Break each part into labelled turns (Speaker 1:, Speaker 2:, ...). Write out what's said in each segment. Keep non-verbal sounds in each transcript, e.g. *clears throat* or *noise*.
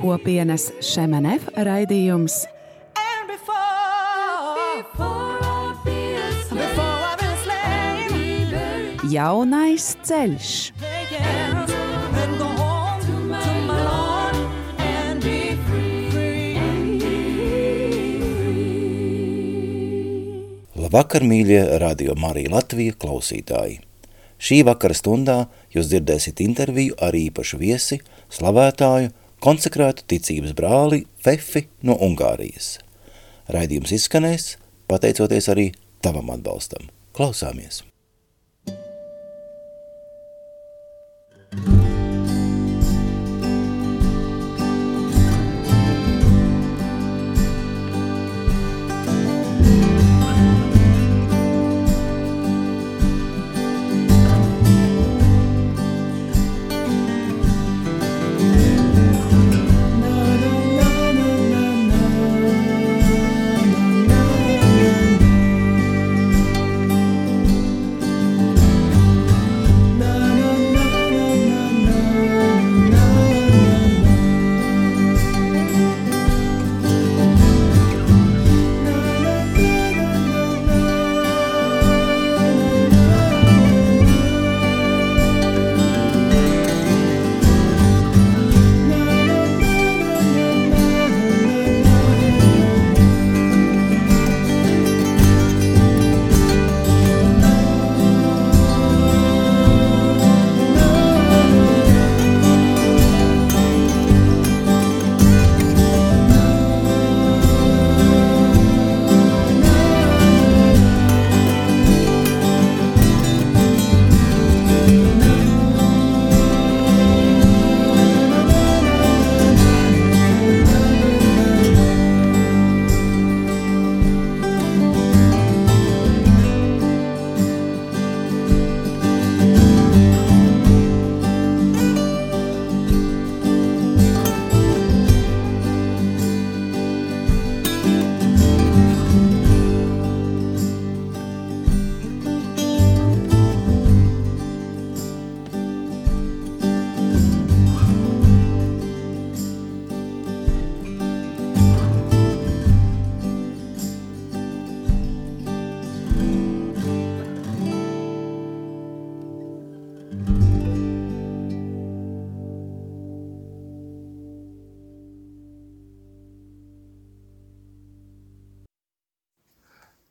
Speaker 1: Kopienas Šemenef raidījums Jaunais ceļš.
Speaker 2: Labvakar, mīļie radio Marija Latvija klausītāji! Šī vakara stundā jūs dzirdēsiet interviju ar īpašu viesi, slavētāju, konsekrētu ticības brāli Fefi no Ungārijas. Raidījums izskanēs, pateicoties arī tavam atbalstam. Klausāmies!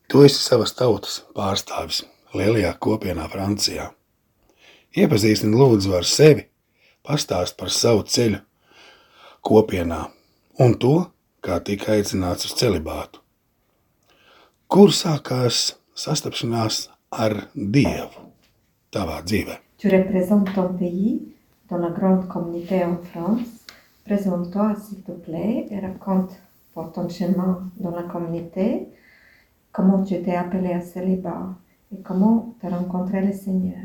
Speaker 3: Tu esi savas tautas pārstāvis lielajā kopienā Francijā. Iepazīstini lūdzu ar sevi, pastāst par savu ceļu kopienā un to, kā tika aicināts uz celibātu. Kur sākās sastapšanās ar Dievu tavā dzīvē?
Speaker 4: Tu représentes ton pays dans la grande communauté en France. Présente-toi, s'il te plaît, et raconte pour ton chemin dans la communauté, comment tu t'es appelé à célibat et comment tu as rencontré le Seigneur.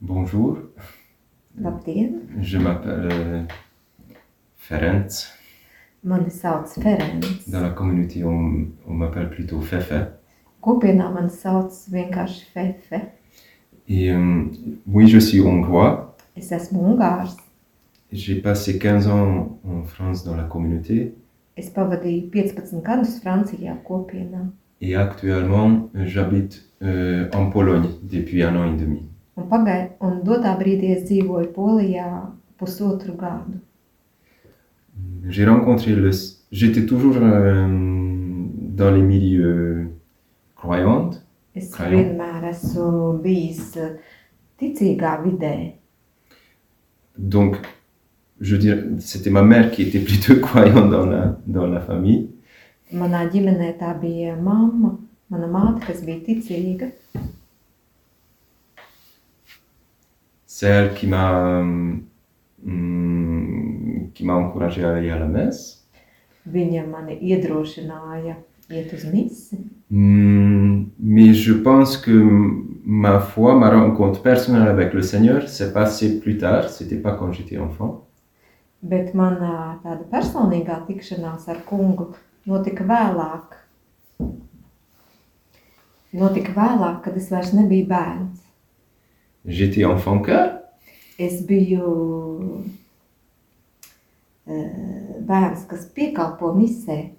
Speaker 5: Bonjour,
Speaker 4: Labdien!
Speaker 5: je m'appelle euh, Ferenc.
Speaker 4: Mani sauc Ferenc.
Speaker 5: Dans la communauté, on, on m'appelle plutôt Fefe.
Speaker 4: Kopienā man sauc vienkārši Fefe.
Speaker 5: Et euh, oui, je suis hongrois.
Speaker 4: Es esmu Ungārs.
Speaker 5: J'ai passé 15 ans en France dans la communauté.
Speaker 4: Es pavadīju 15 gadus Francijā kopienā,
Speaker 5: Et actuellement, euh, j'habite euh, en Pologne depuis un an et demi.
Speaker 4: un, pagai, un dodā brīdī es dzīvoju Polijā pusotru gadu.
Speaker 5: J'ai rencontré le... J'étais toujours euh, dans les milieux croyants.
Speaker 4: Es
Speaker 5: Kā
Speaker 4: Kā
Speaker 5: jau?
Speaker 4: vienmēr esmu bijis eh, ticīgā vidē.
Speaker 5: Donc, je dirais, c'était ma mère qui était *laughs* plutôt croyante dans la, dans la famille.
Speaker 4: Manā ģimenē tā bija mamma, mana māte, kas bija ticīga.
Speaker 5: C'est elle qui m'a euh, hmm, hum, qui m'a encouragé à aller à la messe
Speaker 4: Viņa mani iedrošināja qui est Tunis.
Speaker 5: Hmm, Mais je pense que m- ma foi, ma rencontre personnelle avec le Seigneur s'est passée plus tard. C'était pas quand j'étais enfant.
Speaker 4: Bet manā tāda personīgā tikšanās ar kungu notika vēlāk. Notika vēlāk, kad es vairs nebiju bērns.
Speaker 5: J'étais enfant cœur.
Speaker 4: Es biju eh, bērns, kas piekalpo misē,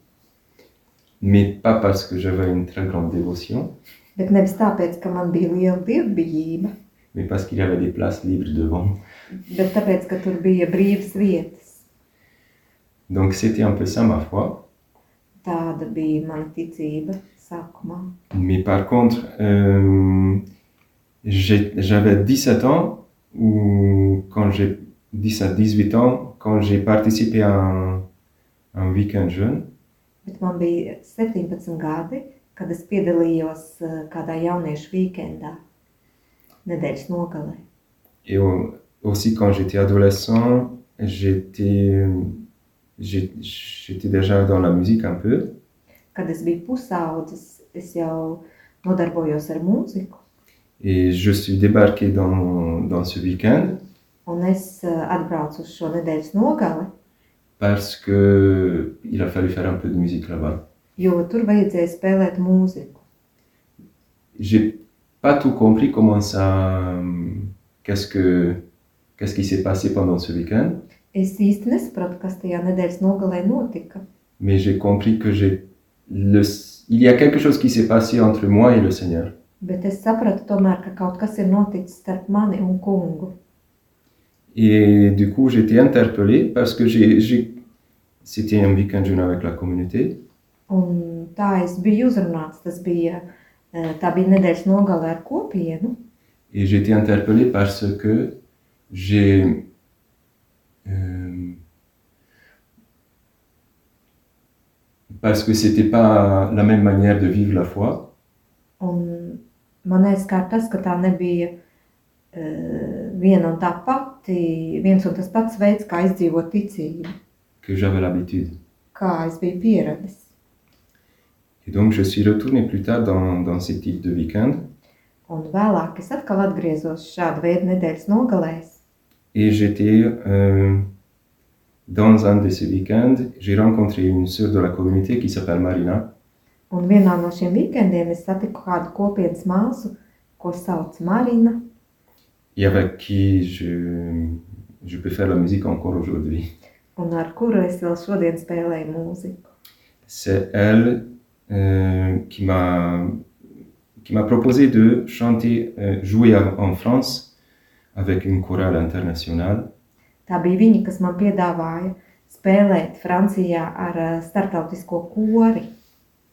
Speaker 5: mais pas parce que j'avais une très grande dévotion,
Speaker 4: bet nevis tāpēc, ka man bija liela dievbijība,
Speaker 5: mais parce qu'il y avait des places libres devant.
Speaker 4: bet tāpēc, ka tur bija brīvas vietas.
Speaker 5: Donc c'était un peu ça ma foi.
Speaker 4: Tāda bija mana ticība sākumā.
Speaker 5: Mais par contre, euh, j'ai- j'avais 17 ans ou quand j'ai 17, 18 ans, quand j'ai participé à un, un week-end jeune,
Speaker 4: Bet man bija 17 gadi, kad es piedalījos eh, kādā jauniešu weekendā, nedēļas nogalē.
Speaker 5: et au- aussi quand j'étais adolescent, j'étais j'ai- j'étais déjà dans la musique un peu.
Speaker 4: Kad es biju pusaudzis, es jau nodarbojos ar mūziku,
Speaker 5: Et je suis débarqué dans, dans ce week-end
Speaker 4: un es eh, atbraucu uz šo nedēļas nogali,
Speaker 5: parce que il a fallu faire un peu de musique là-bas.
Speaker 4: jo tur vajadzēja spēlēt mūziku.
Speaker 5: J'ai pas tout compris comment ça, euh, qu'est-ce que, qu'est-ce qui s'est passé pendant ce week-end,
Speaker 4: Es īsti nesapratu, kas tajā nedēļas nogalē notika,
Speaker 5: mais j'ai compris que j'ai le, il y a quelque chose qui s'est passé entre moi et le Seigneur.
Speaker 4: bet es sapratu tomēr, ka kaut kas ir noticis starp mani un kungu.
Speaker 5: Et du coup, j'étais interpellé parce que j'ai, j'ai- c'était un week-end jeune avec la communauté.
Speaker 4: Un tā es biju uzrunāts, tas bija, eh, tā bija nedēļas nogalē ar kopienu,
Speaker 5: Et j'ai été interpellé parce que j'ai. euh, parce que c'était pas la même manière de vivre la foi.
Speaker 4: Un man aizskāra tas, ka tā nebija eh, viena un tā pati, viens un tas pats veids, kā izdzīvot ticību,
Speaker 5: que j'avais l'habitude.
Speaker 4: kā es biju pieradis.
Speaker 5: Et donc je suis retourné plus tard dans, dans ces types de week-end
Speaker 4: Un vēlāk es atkal atgriezos šāda veida nedēļas nogalēs,
Speaker 5: et j'étais euh, dans un de ces week-ends, j'ai rencontré une sœur de la communauté qui s'appelle Marina
Speaker 4: un vienā no šiem vikendiem es satiku kādu kopienas māsu, ko sauc Marina,
Speaker 5: et avec qui je, je peux faire la musique encore aujourd'hui.
Speaker 4: un ar kuru es vēl šodien spēlēju mūziku.
Speaker 5: c'est elle euh, qui m'a qui m'a proposé de chanter, euh, jouer à- en France avec une chorale internationale.
Speaker 4: Tā bija viņa, kas man piedāvāja spēlēt Francijā ar eh, starptautisko kori.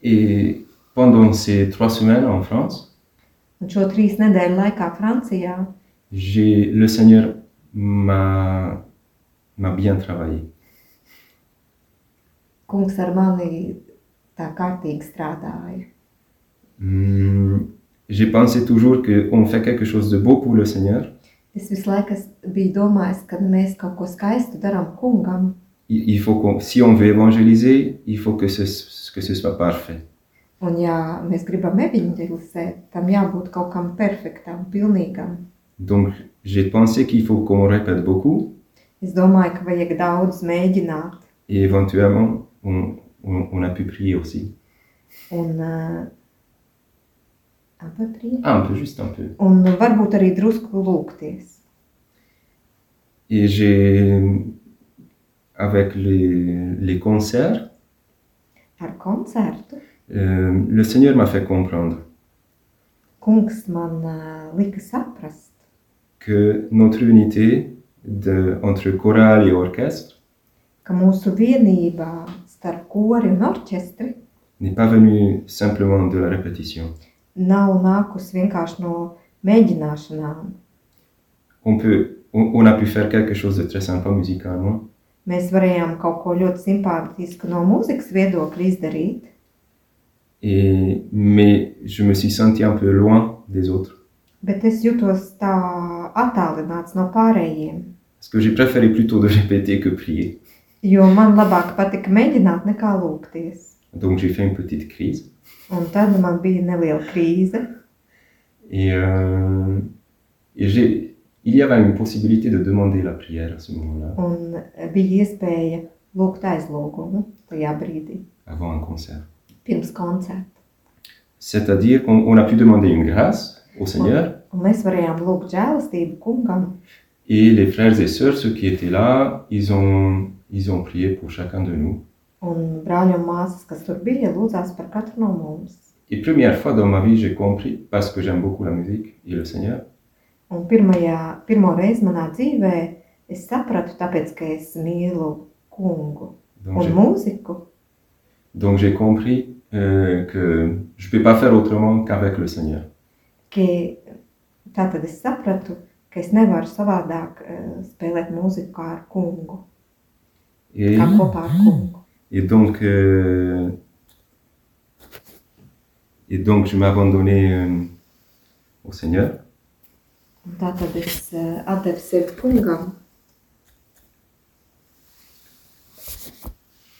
Speaker 5: Et pendant ces trois semaines en France,
Speaker 4: Un šo trīs nedēļu laikā Francijā
Speaker 5: j'ai le Seigneur m'a m'a bien travaillé.
Speaker 4: kungs ar mani tā kārtīgi strādāja.
Speaker 5: Hmm, j'ai pensé toujours qu'on fait quelque chose de beau pour le Seigneur.
Speaker 4: Es visu laiku es biju domājis, ka mēs kaut ko skaistu darām kungam.
Speaker 5: Il, il faut qu'on, si on veut évangéliser, il faut que ce, que ce soit parfait.
Speaker 4: Un, ja mēs gribam evanģelizēt, tam jābūt kaut kam perfektam, pilnīgam.
Speaker 5: Donc j'ai pensé qu'il faut qu'on répète beaucoup.
Speaker 4: Es domāju, ka vajag daudz mēģināt.
Speaker 5: Et éventuellement, on, on, on a pu prier aussi.
Speaker 4: Un, uh, apatrie,
Speaker 5: Ah, Un peu, juste un peu.
Speaker 4: un varbūt arī drusku lūgties.
Speaker 5: Et j'ai, avec les, les concerts,
Speaker 4: Ar koncertu
Speaker 5: euh, le Seigneur m'a fait comprendre
Speaker 4: kungs man uh, lika saprast,
Speaker 5: que notre unité de, entre chorale et orchestre
Speaker 4: ka mūsu vienībā starp kori un orķestri
Speaker 5: n'est pas venue simplement de la répétition.
Speaker 4: nav nākusi vienkārši no mēģināšanām.
Speaker 5: On, peut, on, on a pu faire quelque chose de très sympa musicalement,
Speaker 4: Mēs varējām kaut ko ļoti simpātisku no mūzikas viedokļa izdarīt,
Speaker 5: et, mais je me suis senti un peu loin des autres.
Speaker 4: bet es jutos tā attālināts no pārējiem.
Speaker 5: Parce que j'ai *laughs* préféré plutôt de répéter que prier.
Speaker 4: Jo man labāk patika mēģināt nekā lūgties.
Speaker 5: Donc j'ai fait une petite crise.
Speaker 4: Un tad man bija neliela krīze,
Speaker 5: Et, euh, et j'ai, il y avait une possibilité de demander la prière à ce moment-là,
Speaker 4: un bija iespēja lūgt aizlūgumu tajā brīdī,
Speaker 5: avant un concert.
Speaker 4: pirms koncerta.
Speaker 5: C'est-à-dire qu'on on a pu demander une grâce au Seigneur.
Speaker 4: Un mēs varējām lūgt žēlastību kungam,
Speaker 5: Et les frères et sœurs, ceux qui étaient là, ils ont, ils ont prié pour chacun de nous.
Speaker 4: un brāļu un māsas, kas tur bija, lūdzās par katru no mums.
Speaker 5: Et première fois dans ma vie, j'ai compris, parce que j'aime beaucoup la musique et le Seigneur,
Speaker 4: Un pirmajā, pirmo reizi manā dzīvē es sapratu, tāpēc, ka es mīlu kungu
Speaker 5: donc
Speaker 4: un
Speaker 5: j'ai-
Speaker 4: mūziku.
Speaker 5: donc j'ai compris euh, que je ne peux pas faire autrement qu'avec le Seigneur.
Speaker 4: Ki, tātad es sapratu, ka es nevaru savādāk eh, spēlēt mūziku kā ar kungu,
Speaker 5: Et,
Speaker 4: kā
Speaker 5: Mm.
Speaker 4: kopā ar kungu.
Speaker 5: et donc, euh, et donc je m'abandonnais euh, au Seigneur.
Speaker 4: Un tātad es eh, atdevu sevi kungam,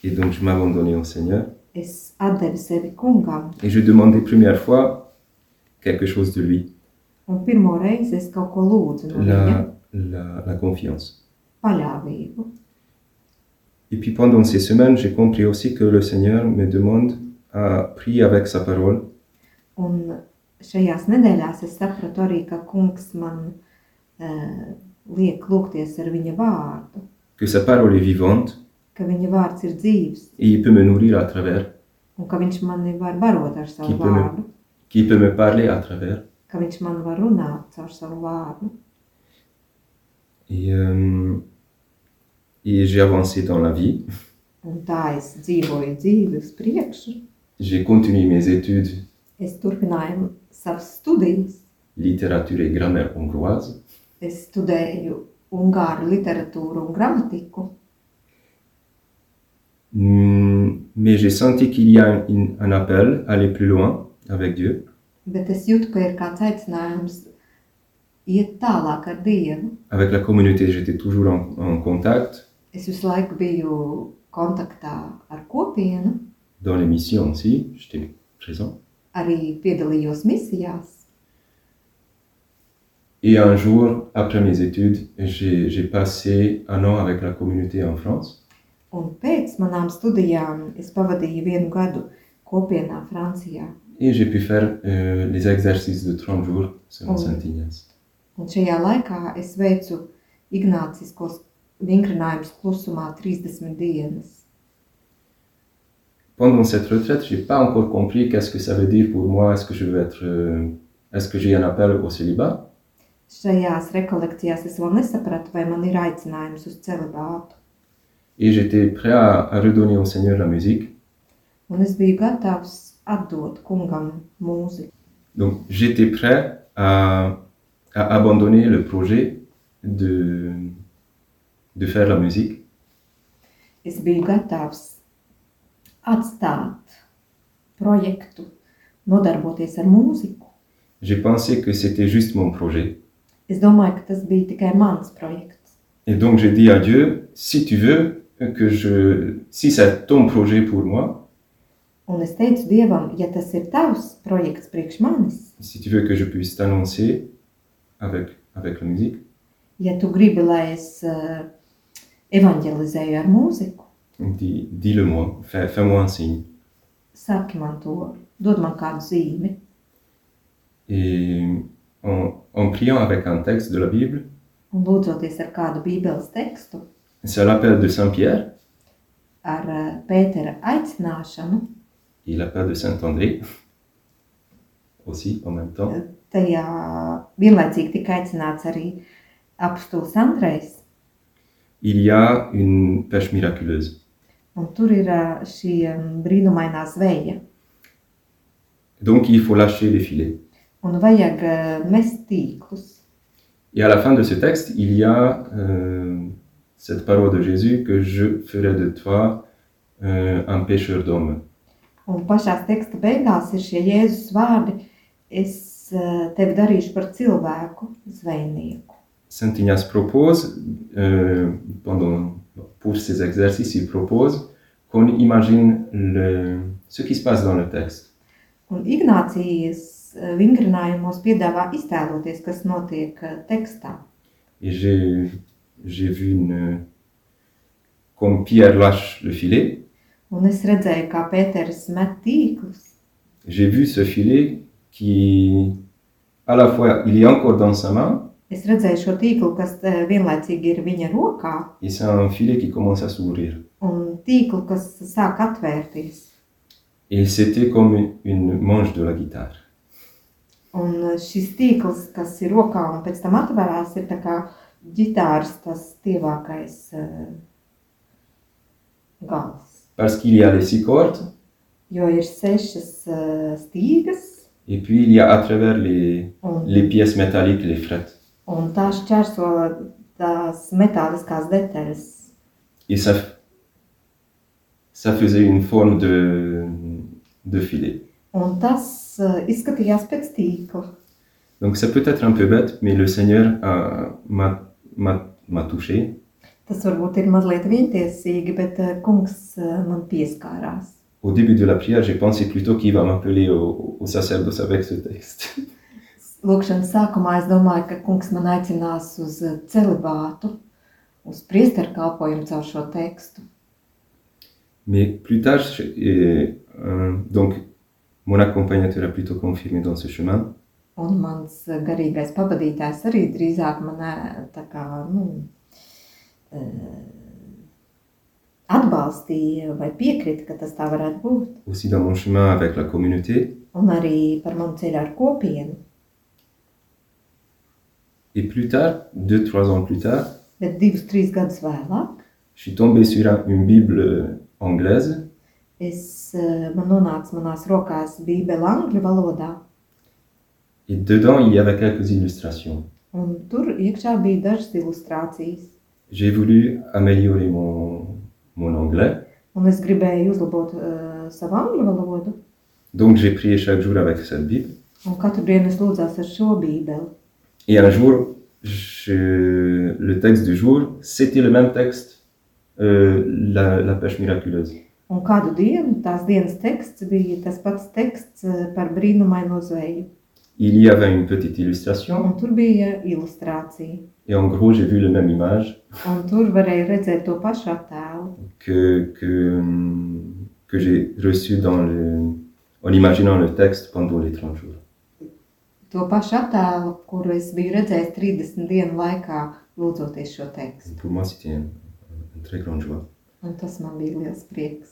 Speaker 5: Et donc je m'abandonnais au Seigneur.
Speaker 4: es atdevu sevi kungam.
Speaker 5: Et je demandais première fois quelque chose de lui,
Speaker 4: Un pirmo reizi es kaut ko lūdzu no viņa
Speaker 5: la, la, la confiance.
Speaker 4: paļāvību.
Speaker 5: Et puis pendant ces semaines, j'ai compris aussi que le Seigneur me demande à prier avec sa parole
Speaker 4: Un šajās nedēļās es sapratu arī, ka kungs man eh, liek lūgties ar viņa vārdu,
Speaker 5: que sa parole est vivante
Speaker 4: ka viņa vārds ir dzīves
Speaker 5: et il peut me nourrir à travers,
Speaker 4: un ka viņš mani var barot ar savu
Speaker 5: Kipene.
Speaker 4: vārdu,
Speaker 5: qu'il peut me parler à travers.
Speaker 4: ka viņš man var runāt caur savu vārdu.
Speaker 5: Et, euh, et j'ai avancé dans la vie.
Speaker 4: Un tā es dzīvoju dzīvi uz priekšu.
Speaker 5: J'ai continué mes études
Speaker 4: Es turpināju savas studijas.
Speaker 5: littérature et grammaire hongroise.
Speaker 4: Es studēju ungāru literatūru un gramatiku,
Speaker 5: Mm, Mais j'ai senti qu'il y a une- un appel à aller plus loin avec Dieu.
Speaker 4: bet es jūtu, ka ir kāds aicinājums iet tālāk ar Dievu.
Speaker 5: Avec la communauté, j'étais toujours en, en contact,
Speaker 4: Es visu laiku biju kontaktā ar kopienu,
Speaker 5: dans les missions aussi, j'étais présent.
Speaker 4: arī piedalījos misijās.
Speaker 5: Et un jour, après mes études, j'ai j'ai passé un an avec la communauté en France.
Speaker 4: Un pēc manām studijām es pavadīju vienu gadu kopienā Francijā.
Speaker 5: Et j'ai pu faire euh, les exercices de 30 jours selon
Speaker 4: Oh.
Speaker 5: Saint Ignace.
Speaker 4: Un šajā laikā es veicu ignāciskos vingrinājumus klusumā 30 dienas.
Speaker 5: Pendant cette retraite, j'ai pas encore compris qu'est-ce que ça veut dire pour moi. Est-ce que je veux être, euh, est-ce que j'ai un appel au célibat
Speaker 4: Šajās rekolekcijās es vēl nesapratu, vai man ir aicinājums uz celibātu.
Speaker 5: Et j'étais prêt à, à redonner au Seigneur la musique.
Speaker 4: Un es biju gatavs atdot kungam mūziku.
Speaker 5: Donc j'étais prêt à, à abandonner le projet de de faire la musique.
Speaker 4: Es biju gatavs atstāt projektu, nodarboties ar mūziku.
Speaker 5: J'ai pensé que c'était juste mon projet.
Speaker 4: Es domāju, ka tas bija tikai mans projekts.
Speaker 5: Et donc j'ai dit à Dieu, si tu veux que je, si c'est ton projet pour moi,
Speaker 4: Un es teicu Dievam, ja tas ir tavs projekts priekš manis,
Speaker 5: si tu veux que je puisse t'annoncer avec, avec la musique,
Speaker 4: ja tu gribi, lai es uh, evanģelizēju ar mūziku,
Speaker 5: dis, dis-le moi, fais, fais-moi un signe.
Speaker 4: saki man to, dod man kādu zīmi.
Speaker 5: Et en, en priant avec un texte de la Bible,
Speaker 4: Un lūdzoties ar kādu bībeles tekstu,
Speaker 5: c'est l'appel de Saint-Pierre
Speaker 4: ar uh, Pētera aicināšanu,
Speaker 5: et l'appel de Saint-André aussi en même temps.
Speaker 4: tajā vienlaicīgi tika aicināts arī apstulis Andrejs.
Speaker 5: Il y a une pêche miraculeuse.
Speaker 4: Un tur ir uh, šī um, brīnumainā zveja.
Speaker 5: Donc il faut lâcher les filets.
Speaker 4: Un vajag uh, mest tīklus.
Speaker 5: Et à la fin de ce texte, il y a euh, cette parole de Jésus que je ferai de toi euh, un pêcheur d'hommes.
Speaker 4: Un pašā teksta beigās ir šie Jēzus vārdi: Es eh, tevi darīšu par cilvēku, zvejnieku.
Speaker 5: Saint Ignace propose, euh, pendant, pour ces exercices, il propose qu'on imagine le, ce qui se passe dans le texte.
Speaker 4: Un Ignācijas eh, vingrinājumos piedāvā iztēloties, kas notiek eh, tekstā.
Speaker 5: Et j'ai, j'ai vu une, comme Pierre lâche le filet,
Speaker 4: Un es redzēju, kā Pēters met tīklus.
Speaker 5: j'ai vu ce filet qui, à la fois, il est encore dans sa main,
Speaker 4: Es redzēju šo tīklu, kas eh, vienlaicīgi ir viņa rokā,
Speaker 5: et c'est un filet qui commence à s'ouvrir.
Speaker 4: un tīklu, kas sāk atvērties.
Speaker 5: Et c'était comme une manche de la guitare.
Speaker 4: Un eh, šis tīkls, kas ir rokā un pēc tam atvērās, ir tā kā ģitārs, tas tievākais eh, gals.
Speaker 5: Parce qu'il y a les six cordes,
Speaker 4: Jo ir sešas eh, stīgas
Speaker 5: et puis il y a à travers les,
Speaker 4: un
Speaker 5: les pièces métalliques, les frettes.
Speaker 4: Un tā šķērso tās metāliskās detaļas.
Speaker 5: Et ça, ça faisait une forme de, de filet.
Speaker 4: Un tas eh, izskatījās pēc tīkla.
Speaker 5: Donc c'est peut-être un peu bête, mais le Seigneur a- m'a- m'a m'a touché.
Speaker 4: Tas varbūt ir mazliet vientiesīgi, bet eh, kungs eh, man pieskārās.
Speaker 5: Au début de la prière, j'ai pensé plutôt qu'il va m'appeler au, au sacerdoce avec ce texte. *laughs*
Speaker 4: Lūkšanas sākumā es domāju, ka kungs man aicinās uz eh, celibātu, uz priesteru kalpojumu caur šo tekstu.
Speaker 5: Mais plus tard, je- et, euh, donc mon accompagnateur a plutôt confirmé dans ce chemin.
Speaker 4: Un mans eh, garīgais pavadītājs arī drīzāk man eh, tā kā, nu, eh, atbalstīja vai piekrita, ka tas tā varētu būt.
Speaker 5: Aussi dans mon chemin avec la communauté.
Speaker 4: un arī par manu ceļu ar kopienu.
Speaker 5: Et plus tard, deux, trois ans plus tard,
Speaker 4: Bet divus, trīs gadus vēlāk
Speaker 5: je suis tombé sur un- une Bible euh, anglaise
Speaker 4: es, eh, man nonāca manās rokās Bībele angļu valodā,
Speaker 5: et dedans il y avait quelques illustrations.
Speaker 4: un tur iekšā bija dažas ilustrācijas.
Speaker 5: J'ai voulu améliorer mon, mon anglais,
Speaker 4: Un es gribēju uzlabot uh, savu angļu valodu,
Speaker 5: donc j'ai prié chaque jour avec cette Bible.
Speaker 4: un katru dienu es lūdzās ar šo bībeli.
Speaker 5: Et un jour, je- le texte du jour, c'était le même texte, euh, la, la pêche miraculeuse.
Speaker 4: Un kādu dienu tās dienas teksts bija tas pats teksts eh, par brīnumaino zveju.
Speaker 5: Il y avait une petite illustration
Speaker 4: Un tur bija ilustrācija,
Speaker 5: et en gros, j'ai vu la même image
Speaker 4: un tur varēja redzēt to pašu attēlu,
Speaker 5: que, que, hum, que j'ai reçue dans le, en imaginant le texte pendant les 30 jours.
Speaker 4: to pašu attēlu, kuru es biju redzējis 30 dienu laikā, lūdzoties šo tekstu.
Speaker 5: Pour moi, c'était une, une très grande joie.
Speaker 4: Un tas man bija liels prieks.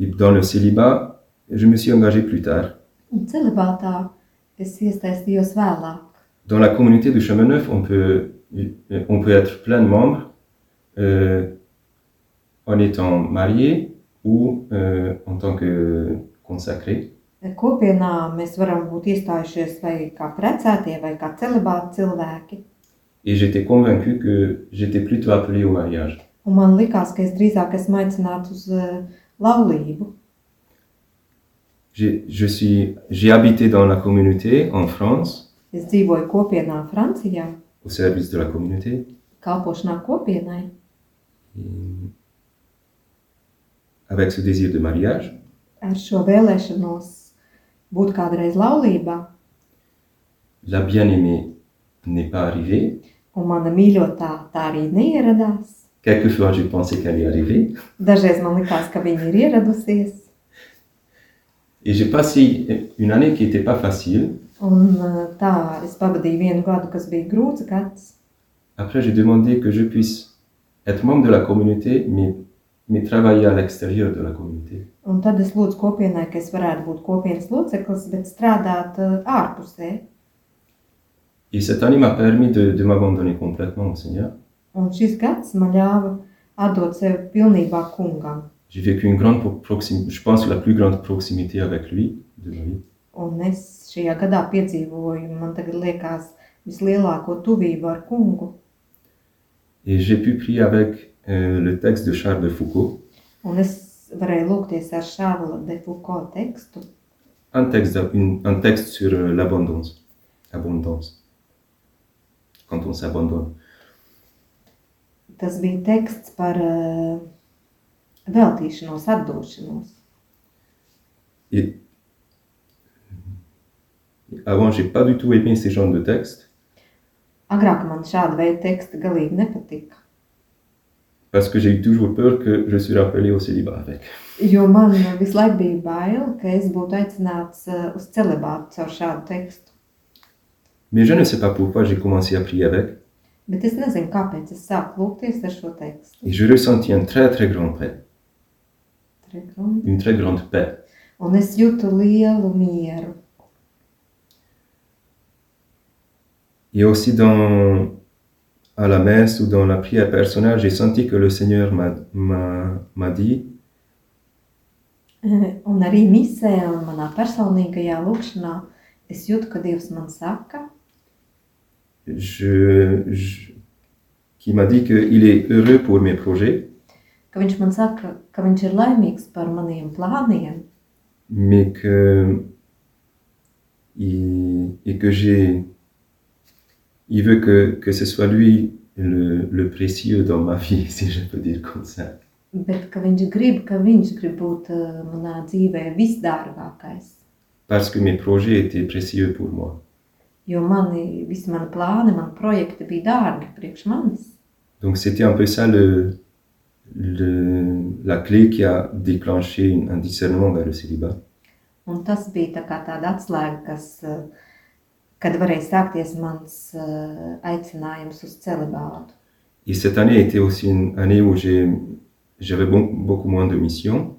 Speaker 5: Et dans le célibat, je me suis engagé plus tard.
Speaker 4: Un celibātā es iesaistījos vēlāk.
Speaker 5: Dans la communauté du Chemin Neuf, on peut, euh, on peut être plein de membres euh, en étant marié ou euh, en tant que consacré.
Speaker 4: Kopienā mēs varam būt iestājušies vai kā precētie, vai kā celibāti cilvēki.
Speaker 5: Et j'étais convaincu que j'étais plutôt appelé au mariage.
Speaker 4: Un man likās, ka es drīzāk esmu aicināts uz eh, laulību.
Speaker 5: J'ai je suis- j'ai habité dans la communauté en France,
Speaker 4: Es dzīvoju kopienā Francijā,
Speaker 5: au service de la communauté.
Speaker 4: kalpošanā kopienai,
Speaker 5: Et avec ce désir de mariage,
Speaker 4: ar šo vēlēšanos būt kādreiz laulībā.
Speaker 5: la bien-aimée n'est pas arrivée.
Speaker 4: Un mana mīļotā tā arī neieradās.
Speaker 5: Quelquefois, j'ai pensé qu'elle est arrivée.
Speaker 4: Dažreiz man likās, ka viņa ir ieradusies.
Speaker 5: Et j'ai passé une année qui n'était pas facile.
Speaker 4: Un eh, tā es pavadīju vienu gadu, kas bija grūts gads.
Speaker 5: Après, j'ai demandé que je puisse être membre de la communauté, mais, mais travailler à l'extérieur de la communauté.
Speaker 4: Un tad es lūdzu kopienai, ka es varētu būt kopienas loceklis, bet strādāt eh, ārpusē.
Speaker 5: Et cette année m'a permis de, de m'abandonner complètement au Seigneur.
Speaker 4: Un šis gads man ļāva atdot sevi pilnībā kungam.
Speaker 5: J'ai vécu une grande pro- proximité, je pense la plus grande proximité avec lui de ma vie.
Speaker 4: Un es šajā gadā piedzīvoju, man tagad liekas, vislielāko tuvību ar kungu.
Speaker 5: Et j'ai pu prier avec euh, le texte de Charles de Foucault,
Speaker 4: Un es varēju lūgties ar Šārla de Foucault tekstu.
Speaker 5: un texte, d'a- une- un texte sur euh, l'abondance. Abondance. Quand on s'abandonne.
Speaker 4: Tas bija teksts par eh, veltīšanos, atdošanos.
Speaker 5: Et avant, j'ai pas du tout aimé ces genres de textes
Speaker 4: Agrāk man šāda veida teksti galīgi nepatika,
Speaker 5: parce que j'ai eu toujours peur que je suis rappelé au célibat avec.
Speaker 4: jo man visu laiku bija bail, ka es būtu aicināts eh, uz celibātu caur šādu tekstu.
Speaker 5: Mais je ne sais pas pourquoi j'ai commencé à prier avec
Speaker 4: Bet es nezinu, kāpēc es sāku lūgties ar šo tekstu.
Speaker 5: et je ressentis un très très grand paix,
Speaker 4: Trekrundi.
Speaker 5: une très grande paix.
Speaker 4: Un es jūtu lielu mieru. *laughs*
Speaker 5: Et aussi dans à la messe ou dans la prière personnelle, j'ai senti que le Seigneur m'a- m'a m'a dit
Speaker 4: Eh, Un arī misē un manā personīgajā lūkšanā es jūtu, ka Dievs man saka,
Speaker 5: je, je- qui m'a dit qu'il est heureux pour mes projets,
Speaker 4: ka Viņš man saka, ka Viņš ir laimīgs par maniem plāniem,
Speaker 5: mais que il, et que j'ai il veut que, que ce soit lui le, le précieux dans ma *laughs* vie, si je peux dire comme ça.
Speaker 4: bet ka Viņš grib, ka Viņš grib būt eh, manā dzīvē visdārgākais.
Speaker 5: Parce que mes projets étaient précieux pour moi.
Speaker 4: Jo mani, visi mani plāni, mani projekti bija dārgi priekš manis.
Speaker 5: Donc c'était un peu ça le, le, la clé qui a déclenché une- un discernement vers le célibat.
Speaker 4: Un tas bija tā kā tāda atslēga, kas, eh, kad varēja sākties mans eh, aicinājums uz celibātu.
Speaker 5: Et cette année était aussi une année où j'ai- j'avais bon- beaucoup moins de missions.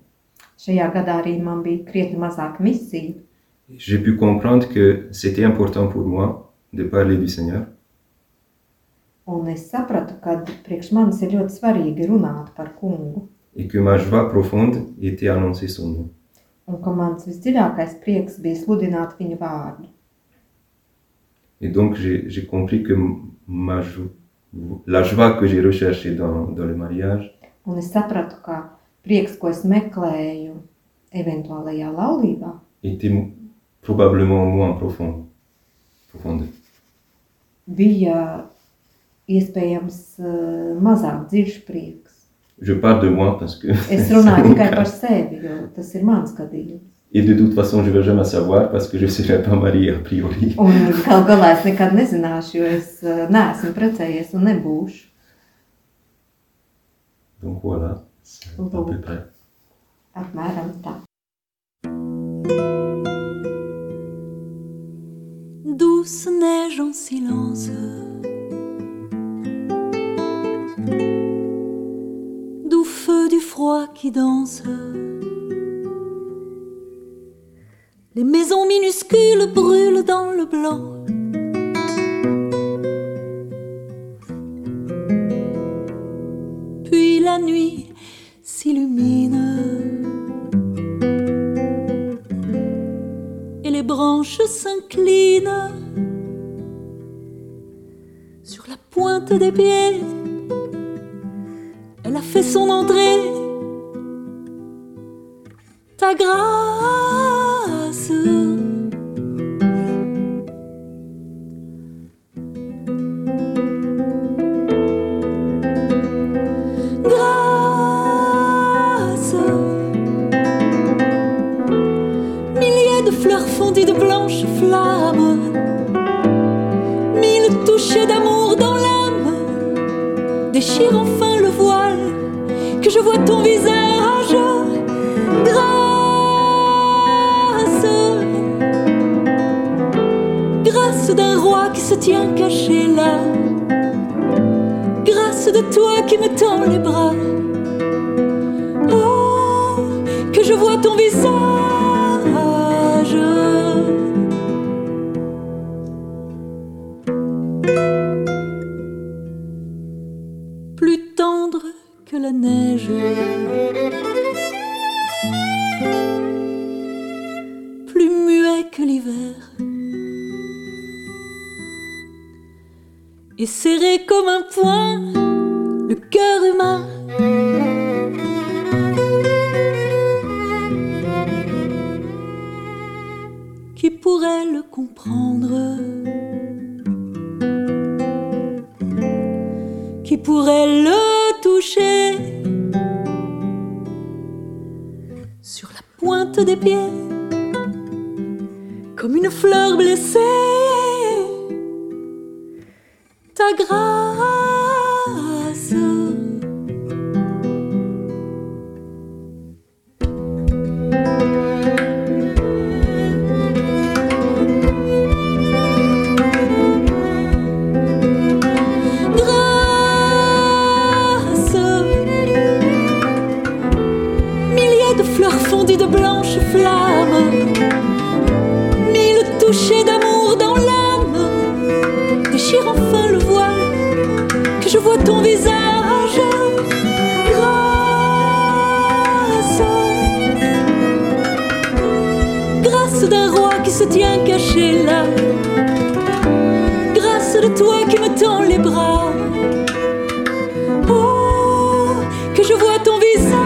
Speaker 4: Šajā gadā arī man bija krietni mazāk misiju.
Speaker 5: j'ai pu comprendre que c'était important pour moi de parler du Seigneur
Speaker 4: Un es sapratu, ka priekš manis ir ļoti svarīgi runāt par kungu,
Speaker 5: et que ma joie profonde était annoncer son nom.
Speaker 4: un ka mans visdziļākais prieks bija sludināt viņa vārdu.
Speaker 5: Et donc j'ai j'ai compris que ma jo- la joie que j'ai recherchée dans, dans le mariage,
Speaker 4: Un es sapratu, ka prieks, ko es meklēju eventuālajā laulībā,
Speaker 5: était m- probablement moins profond, profonde.
Speaker 4: bija iespējams eh, mazāk dziļš prieks.
Speaker 5: Je parle de moi parce que...
Speaker 4: Es
Speaker 5: c'est *laughs*
Speaker 4: runāju
Speaker 5: mon
Speaker 4: tikai
Speaker 5: cas.
Speaker 4: par sevi, jo tas ir mans gadījums.
Speaker 5: Et de toute façon, je ne vais jamais savoir parce que je ne serai pas marié a priori.
Speaker 4: Un gal galā es nekad nezināšu, jo es eh, neesmu precējies un nebūšu.
Speaker 5: Donc voilà, c'est à peu près.
Speaker 4: Apmēram tā.
Speaker 6: douce neige en silence. Doux feu du froid qui danse. Les maisons minuscules brûlent dans le blanc. Puis la nuit s'illumine. et les branches s'inclinent sur la pointe des pieds. Elle a fait son entrée. Ta grâce. Grâce milliers de fleurs fondues de blanches flammes, mille touchés d'amour dans l'âme, déchire enfin le voile que je vois ton visage. Grâce, grâce d'un roi qui se tient caché là, grâce de toi qui me tends les bras. Oh, que je vois ton visage. Plus tendre que la neige. Plus muet que l'hiver. Et serré comme un poing, le cœur humain. qui pourrait le comprendre Qui pourrait le toucher plante des pieds, comme une fleur blessée. Ta grâce grâce. Milliers de fleurs fondues de blanches flammes, mille touchés d'amour dans l'âme, déchire enfin le voile que je vois ton visage. Grâce, grâce d'un roi qui se tient caché là, grâce de toi qui me tends les bras. Oh, que je vois ton visage.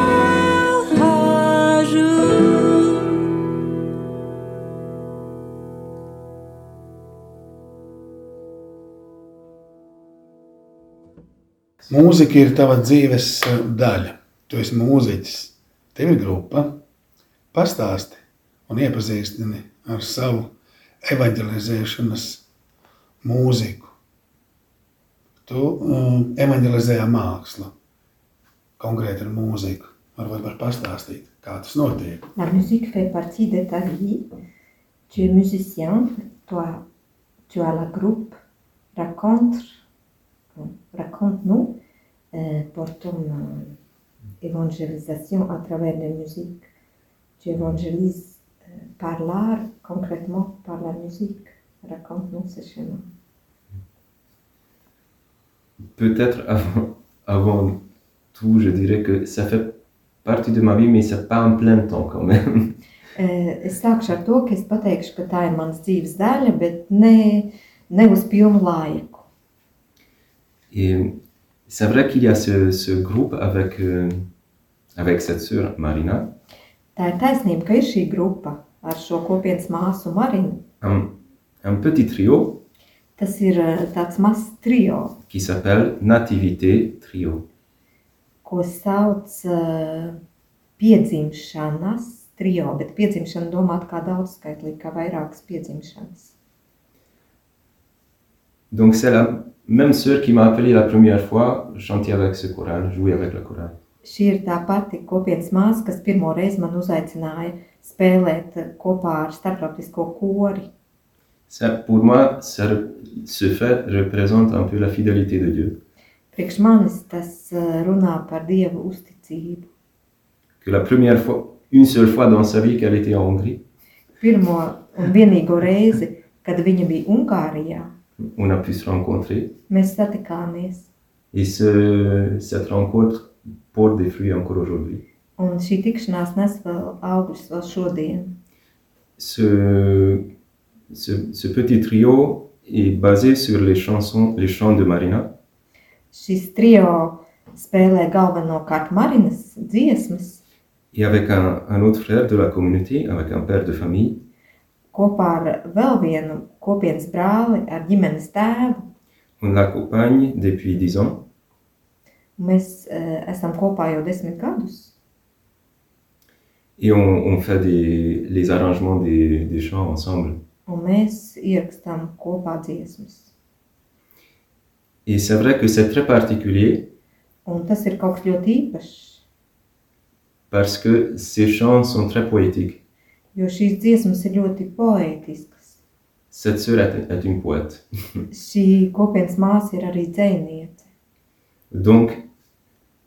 Speaker 3: Mūzika ir tava dzīves eh, daļa. Tu esi mūziķis, tev ir grupa. Pastāsti un iepazīstini ar savu evanģelizēšanas mūziku. Tu um, evanģelizē mākslu, konkrēti ar mūziku. Varbūt var pastāstīt, kā tas notiek.
Speaker 4: La musique fait partie de ta vie. Tu es musicien, toi, tu as la groupe. Raconte, raconte-nous euh, pour ton euh, évangélisation à travers la musique. Tu évangélises euh, par l'art, concrètement par la musique. Raconte-nous ce chemin.
Speaker 5: peut-être *laughs* avant, avant tout, je dirais que ça fait partie de ma vie, mais c'est pas en plein temps quand même. *laughs*
Speaker 4: Eh, Es sākšu ar to, ka es pateikšu, ka tā ir mans dzīves daļa, bet ne, ne uz pilnu laiku.
Speaker 5: Et c'est vrai qu'il y a ce, ce groupe avec, euh, avec cette sœur Marina.
Speaker 4: Tā ir taisnība, ka ir šī grupa ar šo kopienas māsu Marinu.
Speaker 5: un, un petit trio
Speaker 4: Tas ir eh, tāds mazs trio,
Speaker 5: qui s'appelle Nativité Trio.
Speaker 4: ko sauc eh, piedzimšanas trio, bet piedzimšana domāta kā daudzskaitlīga, kā vairākas piedzimšanas.
Speaker 5: Donc c'est la même sœur qui m'a appelé la première fois chanter avec ce choral, jouer avec le choral.
Speaker 4: Šī ir tā pati kopienas māsa, kas pirmo reizi man uzaicināja spēlēt eh, kopā ar starptautisko kori.
Speaker 5: Ça, pour moi, ça re- ce fait représente un peu la fidélité de Dieu.
Speaker 4: Priekš manis tas eh, runā par dievu uzticību.
Speaker 5: Que la première fois, une seule fois dans sa vie qu'elle était en Hongrie,
Speaker 4: Pirmo un vienīgo reizi, kad viņa bija Ungārijā,
Speaker 5: on a pu se rencontrer.
Speaker 4: mēs satikāmies.
Speaker 5: Et ce, cette rencontre porte des fruits encore aujourd'hui.
Speaker 4: Un šī tikšanās nes vēl augļus vēl šodien.
Speaker 5: Ce, ce, ce petit trio est basé sur les chansons, les chants de Marina.
Speaker 4: Šis trio spēlē galvenokārt Marinas dziesmas
Speaker 5: Et avec un, un autre frère de la communauté, avec un père de famille,
Speaker 4: kopā ar vēl vienu kopienas brāli, ar ģimenes tēvu.
Speaker 5: on l'accompagne depuis 10 ans.
Speaker 4: Mēs uh, esam kopā jau desmit gadus.
Speaker 5: Et on, on fait des, les arrangements des, des chants ensemble.
Speaker 4: Un mēs ierakstām kopā dziesmas.
Speaker 5: Et c'est vrai que c'est très particulier
Speaker 4: Un tas ir kaut kas ļoti īpašs,
Speaker 5: parce que ces chants sont très poétiques.
Speaker 4: jo šīs dziesmas ir ļoti poētiskas.
Speaker 5: Cette sœur est, est une poète.
Speaker 4: Šī kopienas māsa ir arī dzēniece.
Speaker 5: Donc,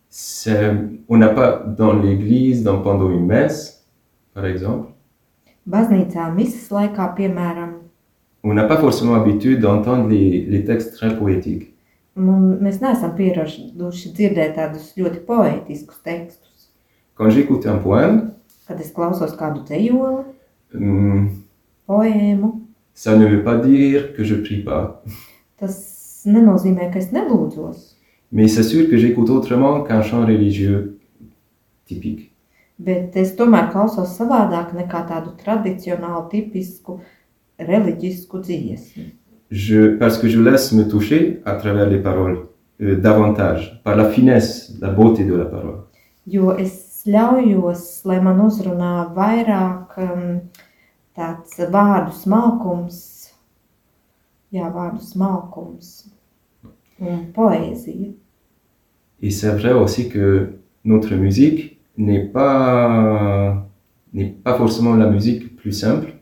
Speaker 5: c'est- on n'a pas dans l'église, dans, pendant une messe, par exemple,
Speaker 4: Baznīcā misijas laikā, piemēram,
Speaker 5: on n'a pas forcément l'habitude d'entendre les, les textes très poétiques.
Speaker 4: mun- nu, mēs neesam pieraduši dzirdēt tādus ļoti poētiskus tekstus.
Speaker 5: Quand j'écoute un poème,
Speaker 4: Kad es klausos kādu dzējoli,
Speaker 5: hum,
Speaker 4: poēmu,
Speaker 5: ça ne veut pas dire que je prie pas.
Speaker 4: tas nenozīmē, ka es nelūdzos,
Speaker 5: Mais c'est sûr que j'écoute autrement qu'un chant religieux typique.
Speaker 4: bet es tomēr klausos savādāk nekā tādu tradicionālu, tipisku, reliģisku dziesmu.
Speaker 5: Je, parce que je laisse me toucher à travers les paroles euh, davantage, par la finesse, la beauté de la parole.
Speaker 4: Jo es ļaujos, lai man uzrunā vairāk um, tāds vārdu smalkums, jā, vārdu smalkums un poēzija.
Speaker 5: Et c'est vrai aussi que notre musique n'est pas, n'est pas forcément la musique plus simple.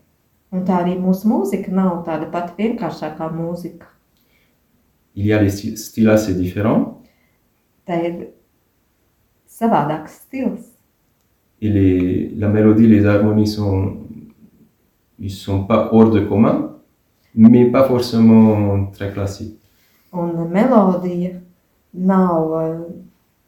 Speaker 4: Un tā arī mūsu mūzika nav tāda pati vienkāršākā mūzika.
Speaker 5: Il y a des sty- styles assez différents
Speaker 4: Tā ir savādāks stils.
Speaker 5: et les, la mélodie, les harmonies sont, ils sont pas hors de commun, mais pas forcément très classiques.
Speaker 4: Un melodija nav eh,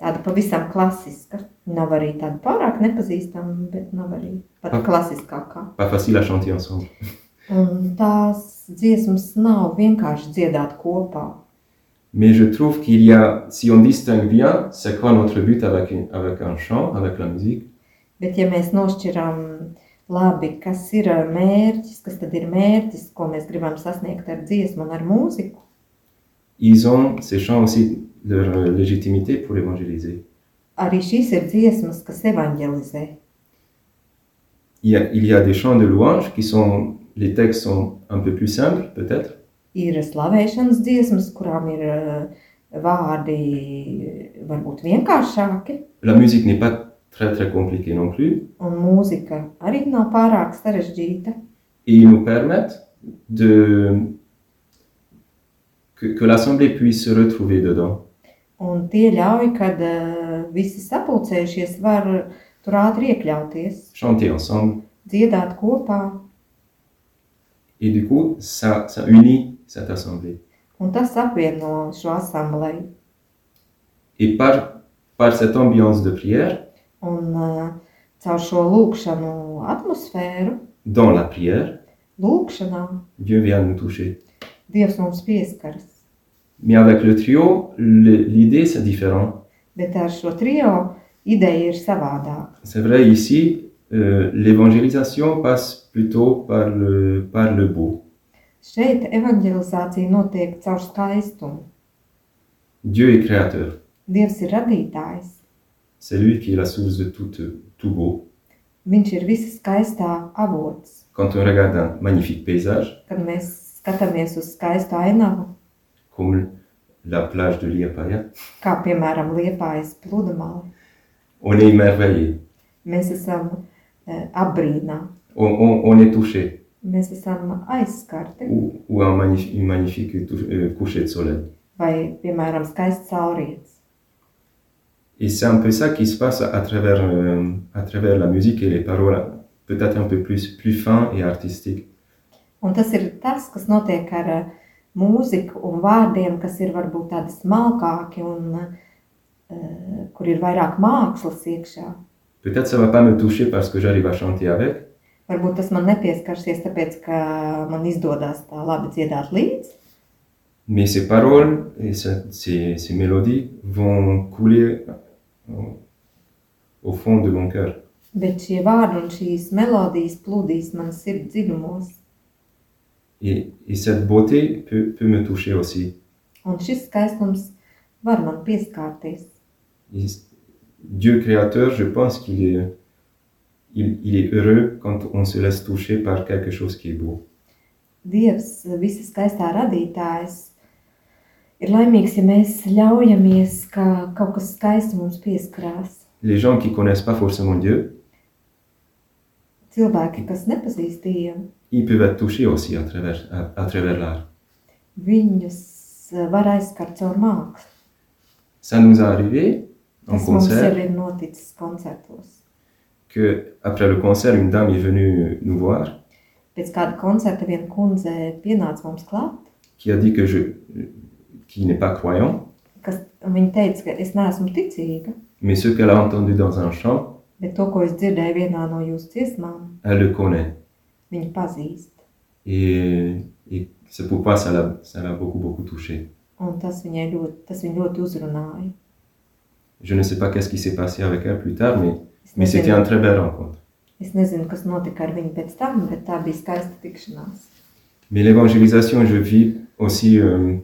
Speaker 4: tāda pavisam klasiska. Nav arī tāda pārāk nepazīstama, bet nav arī pat
Speaker 5: Ah.
Speaker 4: klasiskākā.
Speaker 5: Pas facile à chanter ensemble.
Speaker 4: Un Ehm, tās dziesmas nav vienkārši dziedāt kopā.
Speaker 5: Mais je trouve qu'il y a, si on distingue bien, c'est quoi notre but avec, une- avec un chant, avec la musique,
Speaker 4: Bet, ja mēs nošķiram labi, kas ir eh, mērķis, kas tad ir mērķis, ko mēs gribam sasniegt ar dziesmu un ar mūziku,
Speaker 5: ils ont, ces chants aussi, leur légitimité pour évangéliser.
Speaker 4: arī šīs ir dziesmas, kas evanģelizē.
Speaker 5: Il y a, il y a des chants de louange qui sont, les textes sont un peu plus simples peut-être,
Speaker 4: Ir slavēšanas dziesmas, kurām ir eh, vārdi eh, varbūt vienkāršāki,
Speaker 5: La musique n'est pas très très compliquée non plus
Speaker 4: un mūzika arī nav pārāk sarežģīta.
Speaker 5: et ils nous permettent de que, que l'assemblée puisse se retrouver dedans.
Speaker 4: Un tie ļauj, kad eh, visi sapulcējušies, var tur ātri iekļauties,
Speaker 5: chanter ensemble
Speaker 4: dziedāt kopā.
Speaker 5: et du coup ça, ça unit cette assemblée.
Speaker 4: Un tas apvieno šo asambleju.
Speaker 5: Et par, par cette ambiance de prière,
Speaker 4: Un eh, caur šo lūkšanu atmosfēru,
Speaker 5: dans la prière,
Speaker 4: lūkšanā,
Speaker 5: Dieu vient nous toucher.
Speaker 4: Dievs mums pieskaras.
Speaker 5: Mais avec le trio, le- l'idée c'est différent.
Speaker 4: Bet ar šo trio ideja ir savādāka.
Speaker 5: C'est vrai ici, euh, l'évangélisation passe plutôt par le, par le beau.
Speaker 4: Šeit evanģelizācija notiek caur skaistumu.
Speaker 5: Dieu est créateur.
Speaker 4: Dievs ir radītājs.
Speaker 5: C'est lui qui est la source de tout, euh, tout beau.
Speaker 4: Viņš ir visas skaistā avots.
Speaker 5: Quand on regarde un magnifique paysage,
Speaker 4: Kad mēs skatāmies uz skaistu ainavu,
Speaker 5: comme la plage de l'Iapaya,
Speaker 4: kā piemēram liepājas pludmale,
Speaker 5: on est émerveillé,
Speaker 4: mēs esam eh, apbrīnā,
Speaker 5: on, on- on est touché.
Speaker 4: mēs esam aizskarti
Speaker 5: Ou, ou un magnif- une magnifique tou- euh, coucher de soleil.
Speaker 4: vai, piemēram, skaists saulrietis.
Speaker 5: Et c'est un peu ça qui se passe à travers, euh, à travers la musique et les paroles, peut-être un peu plus, plus fin et artistique.
Speaker 4: Un tas ir tas, kas notiek ar eh, mūziku un vārdiem, kas ir varbūt tādi smalkāki un eh, kur ir vairāk mākslas iekšā.
Speaker 5: Peut-être ça va pas me toucher parce que j'arrive à chanter avec,
Speaker 4: Varbūt tas man nepieskarsies, tāpēc, ka man izdodas tā labi dziedāt līdzi,
Speaker 5: mais ces paroles et ce- ces, ces mélodies vont couler au- au fond de mon cœur.
Speaker 4: bet šie vārdi un šīs melodijas plūdīs man sirds dziļumos.
Speaker 5: Et, et cette beauté peut, peut me toucher aussi.
Speaker 4: Un šis skaistums var man pieskarties.
Speaker 5: Et Dieu créateur, je pense qu'il est, il, il est heureux quand on se laisse toucher par quelque chose qui est beau.
Speaker 4: Dievs, visas skaistā radītājs, ir laimīgs, ja mēs ļaujamies, ka kaut kas skaists mums pieskarās.
Speaker 5: Les gens qui connaissent pas forcément Dieu,
Speaker 4: Cilvēki, kas nepazīst Dievu,
Speaker 5: ils peuvent être touchés aussi à travers, à, à travers l'art.
Speaker 4: viņus var aizskart caur mākslu.
Speaker 5: Ça nous est arrivé en
Speaker 4: Tas mums jau
Speaker 5: concert
Speaker 4: ir noticis koncertos.
Speaker 5: que après le concert, une dame est venue nous voir
Speaker 4: Pēc kāda koncerta viena kundze pienāca mums klāt,
Speaker 5: qui a dit que je, qui n'est pas croyant,
Speaker 4: kas un viņa teica, ka es neesmu ticīga,
Speaker 5: mais ce qu'elle a entendu dans un chant,
Speaker 4: bet to, ko es dzirdēju vienā no jūsu dziesmām,
Speaker 5: elle le connaît.
Speaker 4: viņa pazīst.
Speaker 5: Et, et c'est pourquoi ça l'a, ça l'a beaucoup, beaucoup touché.
Speaker 4: Un tas viņai ļoti, tas viņu ļoti uzrunāja.
Speaker 5: Je ne sais pas qu'est-ce qui s'est passé avec elle plus tard, mais,
Speaker 4: Es
Speaker 5: mais c'était
Speaker 4: nezinu,
Speaker 5: un très belle rencontre.
Speaker 4: es nezinu, kas notika ar viņu pēc tam, bet tā bija skaista tikšanās.
Speaker 5: Mais l'évangélisation, je vis aussi, euh,